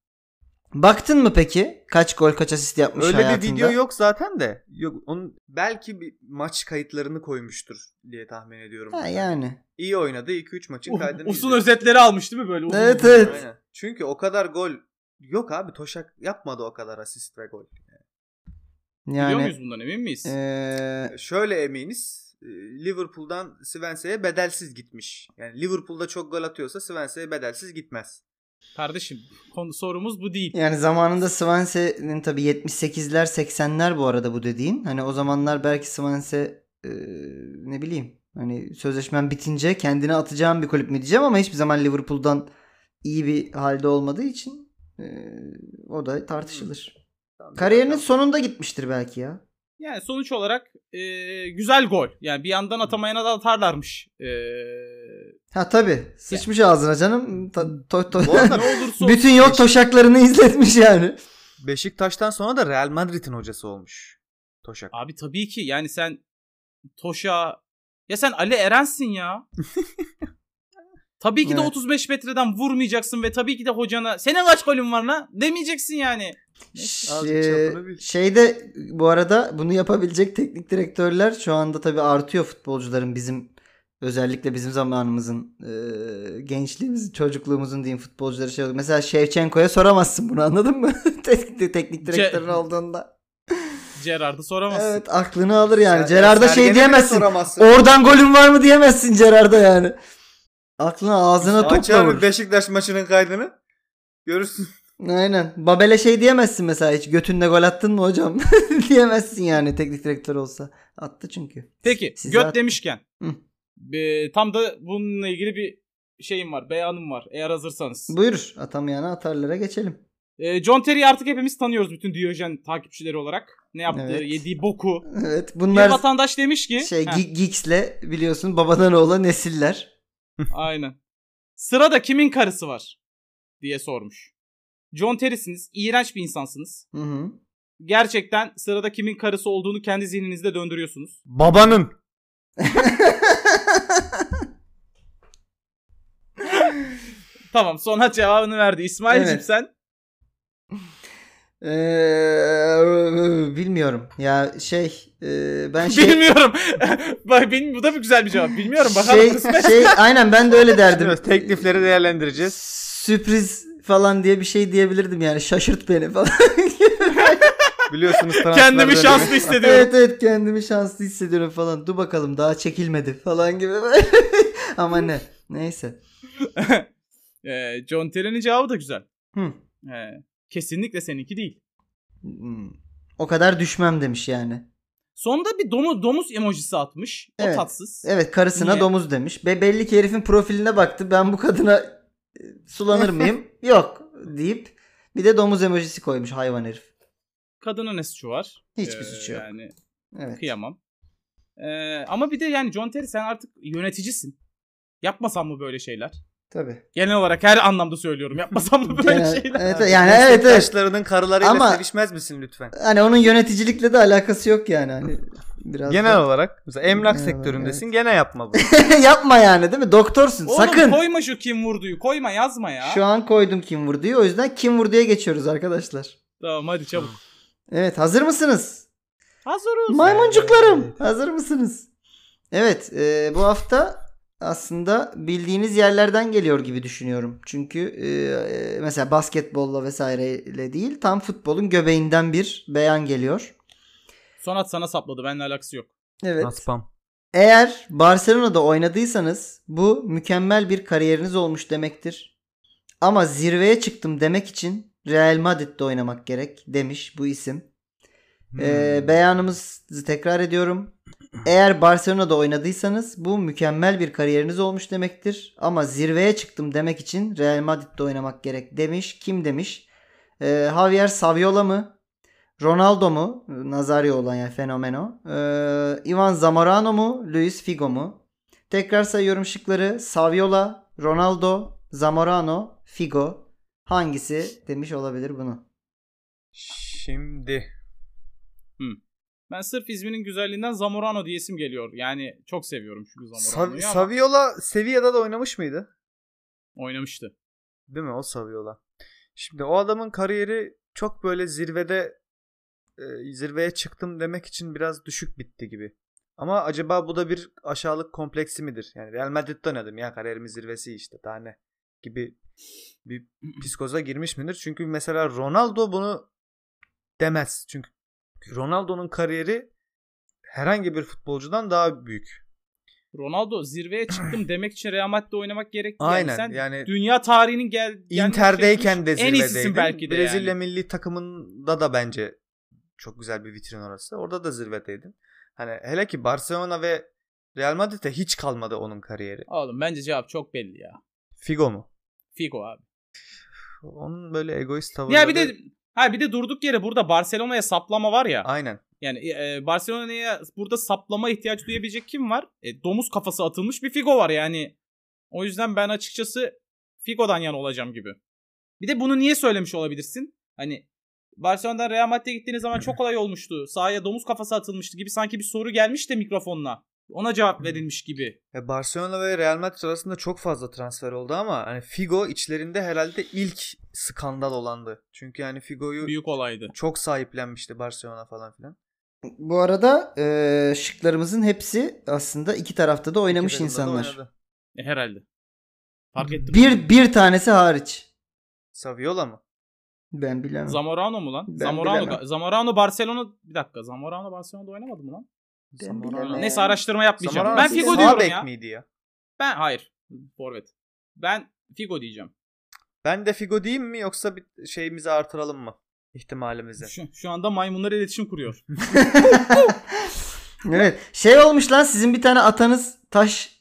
Speaker 1: Baktın mı peki? Kaç gol kaç asist yapmış
Speaker 4: Öyle
Speaker 1: hayatında?
Speaker 4: bir video yok zaten de. Yok onun
Speaker 3: Belki bir maç kayıtlarını koymuştur diye tahmin ediyorum.
Speaker 1: Ha yani.
Speaker 3: İyi oynadı 2-3 maçın kaydını.
Speaker 2: Uzun
Speaker 3: izledim.
Speaker 2: Uh, özetleri almış değil mi böyle? Uzun
Speaker 1: Evet
Speaker 2: uzun.
Speaker 1: evet.
Speaker 3: Aynen. Çünkü o kadar gol yok abi Toşak yapmadı o kadar asist ve gol.
Speaker 2: Biliyor
Speaker 1: Yani e,
Speaker 2: muyuz bundan emin miyiz?
Speaker 1: eee,
Speaker 3: Şöyle eminiz e, Liverpool'dan Svense'ye bedelsiz gitmiş. Yani Liverpool'da çok gol atıyorsa Svense'ye bedelsiz gitmez.
Speaker 2: Kardeşim konu, sorumuz bu değil.
Speaker 1: yani zamanında Swansea'nin tabii 78'ler 80'ler bu arada bu dediğin. Hani o zamanlar belki Swansea eee, ne bileyim hani sözleşmen bitince kendine atacağım bir kulüp mü diyeceğim ama hiçbir zaman Liverpool'dan iyi bir halde olmadığı için eee, o da tartışılır.
Speaker 3: Tamam,
Speaker 1: Kariyerinin
Speaker 3: tamam.
Speaker 1: sonunda gitmiştir belki ya.
Speaker 2: Yani sonuç olarak e, güzel gol. Yani bir yandan atamayana da atarlarmış. E,
Speaker 1: Ha tabi. Sıçmış ağzına canım. Ta- to- to-
Speaker 3: Bu arada
Speaker 2: ne olursa olsun.
Speaker 1: Bütün yok toşaklarını izletmiş yani.
Speaker 4: Beşiktaş'tan sonra da Real Madrid'in hocası olmuş. Toşak.
Speaker 2: Abi tabii ki yani sen Toşa ya sen Ali Eren'sin ya. tabii ki de
Speaker 1: Evet.
Speaker 2: 35 metreden vurmayacaksın ve tabii ki de hocana senin kaç golün var lan demeyeceksin yani.
Speaker 4: Azıcık
Speaker 1: Ee,
Speaker 4: çapını bil.
Speaker 1: şeyde bu arada bunu yapabilecek teknik direktörler şu anda tabii artıyor futbolcuların bizim özellikle bizim zamanımızın e, gençliğimizin çocukluğumuzun diyeyim futbolcuları şey oluyor. Mesela Şevçenko'ya soramazsın bunu anladın mı? teknik, teknik direktörün
Speaker 2: Ce-
Speaker 1: olduğunda.
Speaker 2: Gerard'ı soramazsın.
Speaker 1: Evet aklını alır yani.
Speaker 3: Ser-
Speaker 1: Gerard'a
Speaker 3: Sergen'e
Speaker 1: şey
Speaker 3: bile
Speaker 1: diyemezsin.
Speaker 3: soramazsın.
Speaker 1: Oradan golün var mı diyemezsin Gerard'a yani. Aklını ağzına
Speaker 3: Açar
Speaker 1: topla vurur.
Speaker 3: mı Beşiktaş maçının kaydını? Görürsün.
Speaker 1: Aynen. Babel'e şey diyemezsin mesela hiç götünle gol attın mı hocam? diyemezsin yani teknik direktör olsa. Attı çünkü.
Speaker 2: Peki
Speaker 1: Siz
Speaker 2: göt
Speaker 1: zaten-
Speaker 2: demişken
Speaker 1: Hı.
Speaker 2: e, tam da bununla ilgili bir şeyim var beyanım var eğer hazırsanız.
Speaker 1: Buyur atamayana atarlara geçelim.
Speaker 2: E, John Terry'i artık hepimiz tanıyoruz bütün Diyojen takipçileri olarak. Ne yaptığı
Speaker 1: Evet.
Speaker 2: yediği boku.
Speaker 1: Evet
Speaker 2: Bir
Speaker 1: bunlar
Speaker 2: vatandaş demiş ki.
Speaker 1: şey
Speaker 2: Heh.
Speaker 1: Ge- Geeks'le biliyorsun babadan oğula nesiller.
Speaker 2: Aynen. Sırada kimin karısı var? diye sormuş. John Terry'siniz. iğrenç bir insansınız.
Speaker 1: Hı hı.
Speaker 2: Gerçekten sırada kimin karısı olduğunu kendi zihninizde döndürüyorsunuz.
Speaker 4: Babanın.
Speaker 2: Tamam sonra cevabını verdi. İsmail'cim
Speaker 1: Evet.
Speaker 2: sen.
Speaker 1: Ee, bilmiyorum. Ya şey e, ben şey
Speaker 2: Bilmiyorum. Bak benim bu da bir güzel bir cevap. Bilmiyorum bakalım
Speaker 1: şey,
Speaker 2: kısmet.
Speaker 1: şey aynen ben de öyle derdim.
Speaker 4: Evet, teklifleri değerlendireceğiz.
Speaker 1: Sürpriz falan diye bir şey diyebilirdim yani şaşırt beni falan.
Speaker 4: Biliyorsunuz transfer
Speaker 2: Kendimi
Speaker 4: dönemi.
Speaker 2: şanslı hissediyorum.
Speaker 1: Evet evet kendimi şanslı hissediyorum falan. Dur bakalım daha çekilmedi falan gibi. Ama ne? Neyse.
Speaker 2: Ee, John Terry'nin cevabı da güzel.
Speaker 1: Hı.
Speaker 2: Ee, kesinlikle seninki değil.
Speaker 1: Hmm. O kadar düşmem demiş yani.
Speaker 2: Sonunda bir domu, domuz emojisi atmış. O
Speaker 1: Evet.
Speaker 2: tatsız.
Speaker 1: Evet karısına
Speaker 2: Niye?
Speaker 1: domuz demiş. Be belli ki herifin profiline baktı. Ben bu kadına e, sulanır mıyım? Yok deyip bir de domuz emojisi koymuş hayvan herif.
Speaker 2: Kadının ne suçu var? Ee,
Speaker 1: Hiçbir suçu yok.
Speaker 2: Yani
Speaker 1: Evet.
Speaker 2: Kıyamam. Ee, ama bir de yani John Terry sen artık yöneticisin. Yapmasan mı böyle şeyler?
Speaker 1: Tabii.
Speaker 2: Genel olarak her anlamda söylüyorum. Yapmasan mı böyle
Speaker 1: Genel-
Speaker 2: şeyler?
Speaker 1: evet, yani evet evet.
Speaker 3: Beşiktaşlarının karılarıyla
Speaker 1: Ama-
Speaker 3: sevişmez misin lütfen?
Speaker 1: Hani onun yöneticilikle de alakası yok yani. Hani biraz
Speaker 4: Genel
Speaker 1: da-
Speaker 4: olarak mesela emlak
Speaker 1: Genel olarak,
Speaker 4: sektöründesin gene yapma bunu.
Speaker 1: yapma yani değil mi? Doktorsun.
Speaker 2: Oğlum
Speaker 1: sakın.
Speaker 2: koyma şu kim vurduyu. Koyma yazma ya.
Speaker 1: Şu an koydum kim vurduyu. O yüzden kim vurduya geçiyoruz arkadaşlar.
Speaker 2: Tamam hadi çabuk.
Speaker 1: Evet hazır mısınız?
Speaker 2: Hazırız.
Speaker 1: Maymuncuklarım hazır mısınız? Evet e, bu hafta aslında bildiğiniz yerlerden geliyor gibi düşünüyorum. Çünkü e, e, mesela basketbolla vesaireyle değil tam futbolun göbeğinden bir beyan geliyor.
Speaker 2: Sonat sana sapladı. Benimle alakası yok.
Speaker 1: Evet.
Speaker 4: Aspam.
Speaker 1: Eğer Barcelona'da oynadıysanız bu mükemmel bir kariyeriniz olmuş demektir. Ama zirveye çıktım demek için Real Madrid'de oynamak gerek demiş bu isim. Ee, beyanımızı tekrar ediyorum. Eğer Barcelona'da oynadıysanız bu mükemmel bir kariyeriniz olmuş demektir. Ama zirveye çıktım demek için Real Madrid'de oynamak gerek demiş. Kim demiş? Ee, Javier Saviola mı? Ronaldo mu? Nazario olan yani fenomeno. Ee, Ivan Zamorano mu? Luis Figo mu? Tekrar sayıyorum şıkları. Saviola, Ronaldo, Zamorano, Figo. Hangisi demiş olabilir bunu?
Speaker 4: Şimdi
Speaker 2: Ben sırf İzmir'in güzelliğinden Zamorano diye isim geliyor. Yani çok seviyorum çünkü Zamorano'yu
Speaker 4: Sav-
Speaker 2: ama
Speaker 4: Saviola Sevilla'da da oynamış mıydı?
Speaker 2: oynamıştı.
Speaker 4: Değil mi o Saviola?
Speaker 3: Şimdi o adamın kariyeri çok böyle zirvede e, zirveye çıktım demek için biraz düşük bitti gibi. Ama acaba bu da bir aşağılık kompleksi midir? Yani Real Madrid'de oynadım ya kariyerimin zirvesi işte daha ne gibi bir psikoza girmiş midir? Çünkü mesela Ronaldo bunu demez. Çünkü Ronaldo'nun kariyeri herhangi bir futbolcudan daha büyük.
Speaker 2: Ronaldo zirveye çıktım demek için Real Madrid'de oynamak gerek.
Speaker 3: Aynen
Speaker 2: Yani sen
Speaker 3: yani
Speaker 2: dünya tarihinin gel gelmiş
Speaker 3: Inter'deyken
Speaker 2: geçmiş
Speaker 3: de
Speaker 2: şey en iyisisin
Speaker 3: zirvedeydim.
Speaker 2: belki de
Speaker 3: Brezilya
Speaker 2: yani.
Speaker 3: milli takımında da bence çok güzel bir vitrin orası. Orada da zirvedeydim. Hani hele ki Barcelona ve Real Madrid'de hiç kalmadı onun kariyeri.
Speaker 2: Oğlum bence cevap çok belli ya.
Speaker 3: Figo mu?
Speaker 2: Figo abi.
Speaker 3: Onun böyle egoist tavırları.
Speaker 2: Ya bir de ha bir de durduk yere burada Barcelona'ya saplama var ya.
Speaker 3: Aynen.
Speaker 2: Yani e, Barcelona'ya burada saplama ihtiyacı duyabilecek kim var? E, domuz kafası atılmış bir Figo var yani. O yüzden ben açıkçası Figo'dan yan olacağım gibi. Bir de bunu niye söylemiş olabilirsin? Hani Barcelona'dan Real Madrid'e gittiğiniz zaman çok kolay olmuştu. Sahaya domuz kafası atılmıştı gibi sanki bir soru gelmiş de mikrofonla. Ona cevap verilmiş gibi.
Speaker 3: E, Barcelona ve Real Madrid arasında çok fazla transfer oldu ama hani Figo içlerinde herhalde ilk skandal olandı. Çünkü yani Figo'yu
Speaker 2: Büyük olaydı.
Speaker 3: çok sahiplenmişti Barcelona falan filan.
Speaker 1: Bu arada e, şıklarımızın hepsi aslında iki tarafta da oynamış
Speaker 3: İki takımda da
Speaker 1: insanlar.
Speaker 3: oynadı.
Speaker 2: E, herhalde. Fark ettim.
Speaker 1: Bir bir tanesi hariç.
Speaker 3: Saviola mı?
Speaker 1: Ben bilemem.
Speaker 2: Zamorano mu lan?
Speaker 1: Ben bilemem.
Speaker 2: Zamorano, Zamorano Barcelona bir dakika. Zamorano Barcelona'da oynamadı mı lan?
Speaker 1: Ben
Speaker 3: Zamorano.
Speaker 1: bilemem.
Speaker 2: Neyse araştırma yapmayacağım.
Speaker 3: Zamorano
Speaker 2: ben
Speaker 1: sizin
Speaker 2: Figo
Speaker 3: sağ
Speaker 2: diyorum
Speaker 3: bek
Speaker 2: ya.
Speaker 3: miydi ya?
Speaker 2: Ben hayır. Forvet. Ben Figo diyeceğim.
Speaker 3: Ben de Figo diyeyim mi yoksa bir şeyimizi artıralım mı? İhtimalimizi.
Speaker 2: Şu, şu anda maymunlar iletişim kuruyor.
Speaker 1: evet. Şey olmuş lan sizin bir tane atanız taşla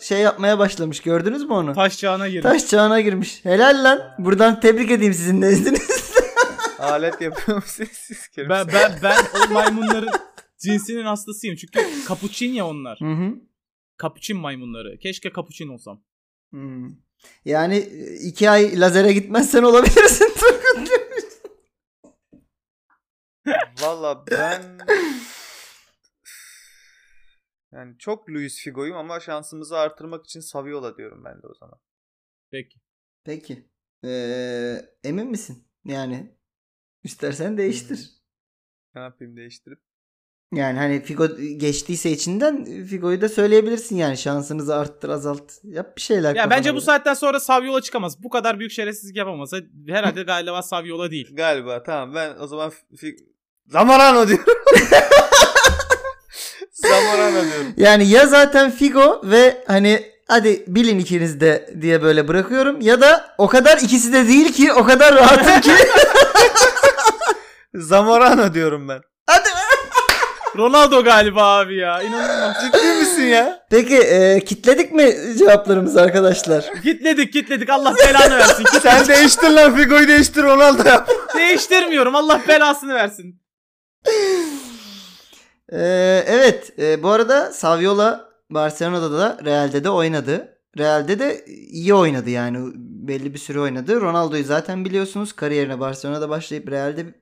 Speaker 1: şey yapmaya başlamış. Gördünüz mü onu?
Speaker 2: Taş çağına girdi.
Speaker 1: Taş çağına girmiş. Helal lan. Buradan tebrik edeyim sizin nezdiniz.
Speaker 3: Alet yapıyor musunuz siz kerim?
Speaker 2: Ben, ben, ben o maymunların cinsinin hastasıyım. Çünkü kapuçin ya onlar.
Speaker 1: Hı hı.
Speaker 2: Kapuçin maymunları. Keşke kapuçin olsam.
Speaker 1: Hmm. Yani e, iki ay lazere gitmezsen olabilirsin Turgut demiş.
Speaker 3: Valla ben... Yani çok Luis Figo'yum ama şansımızı artırmak için Saviola diyorum ben de o zaman.
Speaker 2: Peki.
Speaker 1: Peki. Ee, emin misin? Yani istersen değiştir.
Speaker 3: Ne yapayım değiştirip?
Speaker 1: Yani hani Figo geçtiyse içinden Figo'yu da söyleyebilirsin yani şansınızı arttır azalt. Yap bir şeyler.
Speaker 2: Ya
Speaker 1: kafana
Speaker 2: bence bu
Speaker 1: göre.
Speaker 2: saatten sonra Saviola çıkamaz. Bu kadar büyük şerefsizlik yapamaz. Herhalde galiba Saviola değil.
Speaker 3: Galiba tamam ben o zaman Fi... Zamorano diyorum. Zamorano diyorum.
Speaker 1: Yani ya zaten Figo ve hani hadi bilin ikiniz de diye böyle bırakıyorum ya da o kadar ikisi de değil ki o kadar rahatım ki.
Speaker 3: Zamorano diyorum ben.
Speaker 1: hadi.
Speaker 2: Ronaldo galiba abi ya. İnanılmaz.
Speaker 3: Ciddi misin ya?
Speaker 1: Peki e, kitledik mi cevaplarımızı arkadaşlar?
Speaker 2: Kitledik kitledik. Allah belanı versin.
Speaker 3: Sen değiştir lan Figo'yu değiştir Ronaldo yap.
Speaker 2: Değiştirmiyorum. Allah belasını versin.
Speaker 1: Ee, evet e, bu arada Saviola Barcelona'da da Real'de de oynadı. Real'de de iyi oynadı yani belli bir süre oynadı. Ronaldo'yu zaten biliyorsunuz kariyerine Barcelona'da başlayıp Real'de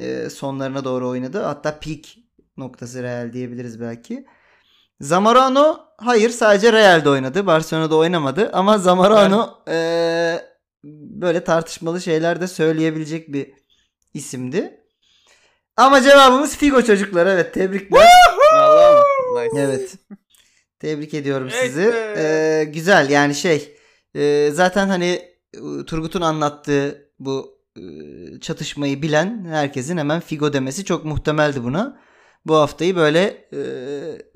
Speaker 1: e, sonlarına doğru oynadı. Hatta peak noktası Real diyebiliriz belki. Zamorano hayır sadece Real'de oynadı. Barcelona'da oynamadı ama Zamorano e, böyle tartışmalı şeyler de söyleyebilecek bir isimdi. Ama cevabımız Figo çocuklar evet tebrikler.
Speaker 3: Allah'ım. Nice.
Speaker 1: Evet. Tebrik ediyorum
Speaker 2: Evet
Speaker 1: sizi.
Speaker 2: be.
Speaker 1: Ee, güzel yani şey e, zaten hani e, Turgut'un anlattığı bu e, çatışmayı bilen herkesin hemen Figo demesi çok muhtemeldi buna. Bu haftayı böyle e,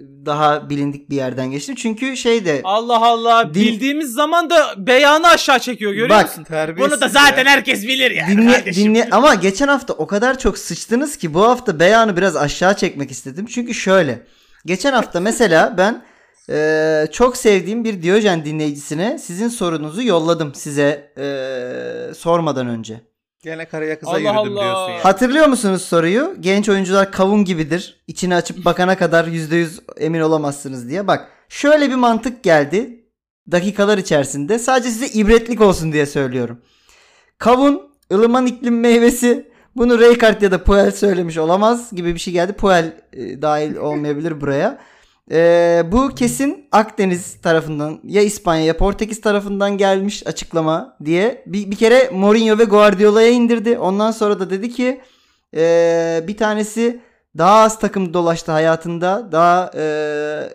Speaker 1: daha bilindik bir yerden geçtim. Çünkü şey de
Speaker 2: Allah
Speaker 1: Dil-
Speaker 2: Allah. Bildiğimiz zaman da beyanı aşağı çekiyor görüyor
Speaker 1: Bak,
Speaker 2: musun?
Speaker 3: Terbiyesiz
Speaker 2: Bunu da zaten
Speaker 3: ya.
Speaker 2: herkes bilir yani.
Speaker 1: dinle,
Speaker 2: kardeşim.
Speaker 1: dinle ama geçen hafta o kadar çok sıçtınız ki bu hafta beyanı biraz aşağı çekmek istedim. Çünkü şöyle. Geçen hafta mesela ben e, çok sevdiğim bir Diyojen dinleyicisine sizin sorunuzu yolladım size e, sormadan önce.
Speaker 3: Gene karaya kıza
Speaker 2: Allah
Speaker 3: yürüdüm
Speaker 2: Allah.
Speaker 3: diyorsun ya.
Speaker 1: Hatırlıyor musunuz soruyu? Genç oyuncular kavun gibidir. İçini açıp bakana kadar %100 emin olamazsınız diye. Bak şöyle bir mantık geldi dakikalar içerisinde. Sadece size ibretlik olsun diye söylüyorum. Kavun ılıman iklim meyvesi. Bunu Raykart ya da Puel söylemiş olamaz gibi bir şey geldi. Puel e, dahil olmayabilir buraya. Ee, bu kesin Akdeniz tarafından ya İspanya ya Portekiz tarafından gelmiş açıklama diye bir, bir kere Mourinho ve Guardiola'ya indirdi. Ondan sonra da dedi ki ee, bir tanesi daha az takım dolaştı hayatında. Daha ee,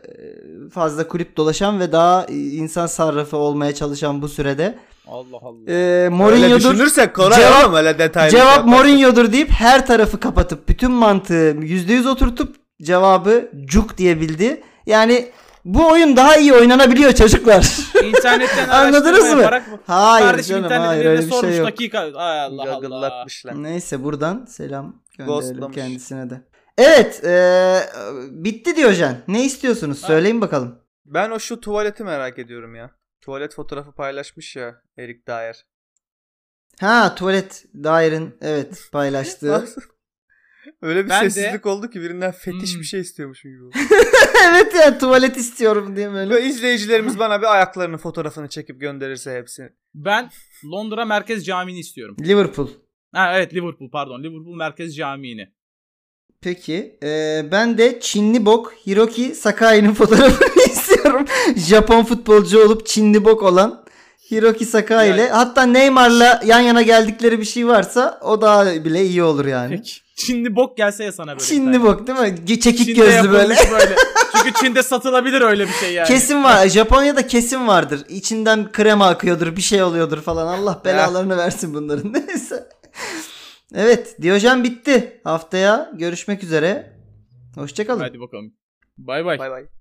Speaker 1: fazla kulüp dolaşan ve daha insan sarrafı olmaya çalışan bu sürede.
Speaker 2: Allah Allah.
Speaker 1: Ee,
Speaker 3: Öyle
Speaker 1: Mourinho'dur.
Speaker 3: düşünürsek kolay
Speaker 1: Cevap-
Speaker 3: oğlum öyle detaylı.
Speaker 1: Cevap
Speaker 3: yapmak.
Speaker 1: Mourinho'dur deyip her tarafı kapatıp bütün mantığı %100 oturtup cevabı cuk diyebildi. Yani bu oyun daha iyi oynanabiliyor çocuklar.
Speaker 2: İnternetten
Speaker 1: Anladınız
Speaker 2: araştırma
Speaker 1: mı?
Speaker 2: yaparak mı?
Speaker 1: hayır
Speaker 2: Kardeşim
Speaker 1: canım
Speaker 2: internetten
Speaker 1: hayır
Speaker 2: birine
Speaker 1: öyle bir
Speaker 2: sormuş
Speaker 1: şey yok. şey.
Speaker 2: dakika. Ay Allah Allah.
Speaker 3: Gagıllatmışlar.
Speaker 1: Neyse buradan selam gönderelim
Speaker 3: Ghostlamış.
Speaker 1: kendisine de. Evet eee, bitti Diyojen. Ne istiyorsunuz? Söyleyin bakalım.
Speaker 4: Ben o şu tuvaleti merak ediyorum ya. Tuvalet fotoğrafı paylaşmış ya Erik Dyer.
Speaker 1: Ha tuvalet dairin evet paylaştığı.
Speaker 4: Öyle bir
Speaker 2: Ben de-
Speaker 4: sessizlik oldu ki birinden fetiş
Speaker 2: Hmm.
Speaker 4: bir şey istiyormuşum gibi. oldu.
Speaker 1: evet ya tuvalet istiyorum diye böyle.
Speaker 4: Böyle izleyicilerimiz bana bir ayaklarının fotoğrafını çekip gönderirse hepsini.
Speaker 2: Ben Londra Merkez Camii'ni istiyorum.
Speaker 1: Liverpool.
Speaker 2: Ha evet Liverpool pardon. Liverpool Merkez Camii'ni.
Speaker 1: Peki. eee, ben de Çinli bok Hiroki Sakai'nin fotoğrafını istiyorum. Japon futbolcu olup Çinli bok olan Hiroki Sakai ile
Speaker 2: Yani-
Speaker 1: hatta Neymar'la yan yana geldikleri bir şey varsa o daha bile iyi olur yani.
Speaker 2: Çinli bok gelse ya sana böyle.
Speaker 1: Çinli bok değil mi? Ge- Çekik
Speaker 2: Çin'de
Speaker 1: gözlü
Speaker 2: yapılmış
Speaker 1: böyle.
Speaker 2: böyle. Çünkü Çin'de satılabilir öyle bir şey yani.
Speaker 1: Kesin var. Japonya'da kesin vardır. İçinden krema akıyordur, bir şey oluyordur falan. Allah belalarını versin bunların. Neyse. Evet, Diyojen bitti. Haftaya görüşmek üzere. Hoşçakalın.
Speaker 2: Hadi bakalım. Bay bay.
Speaker 4: Bay bay.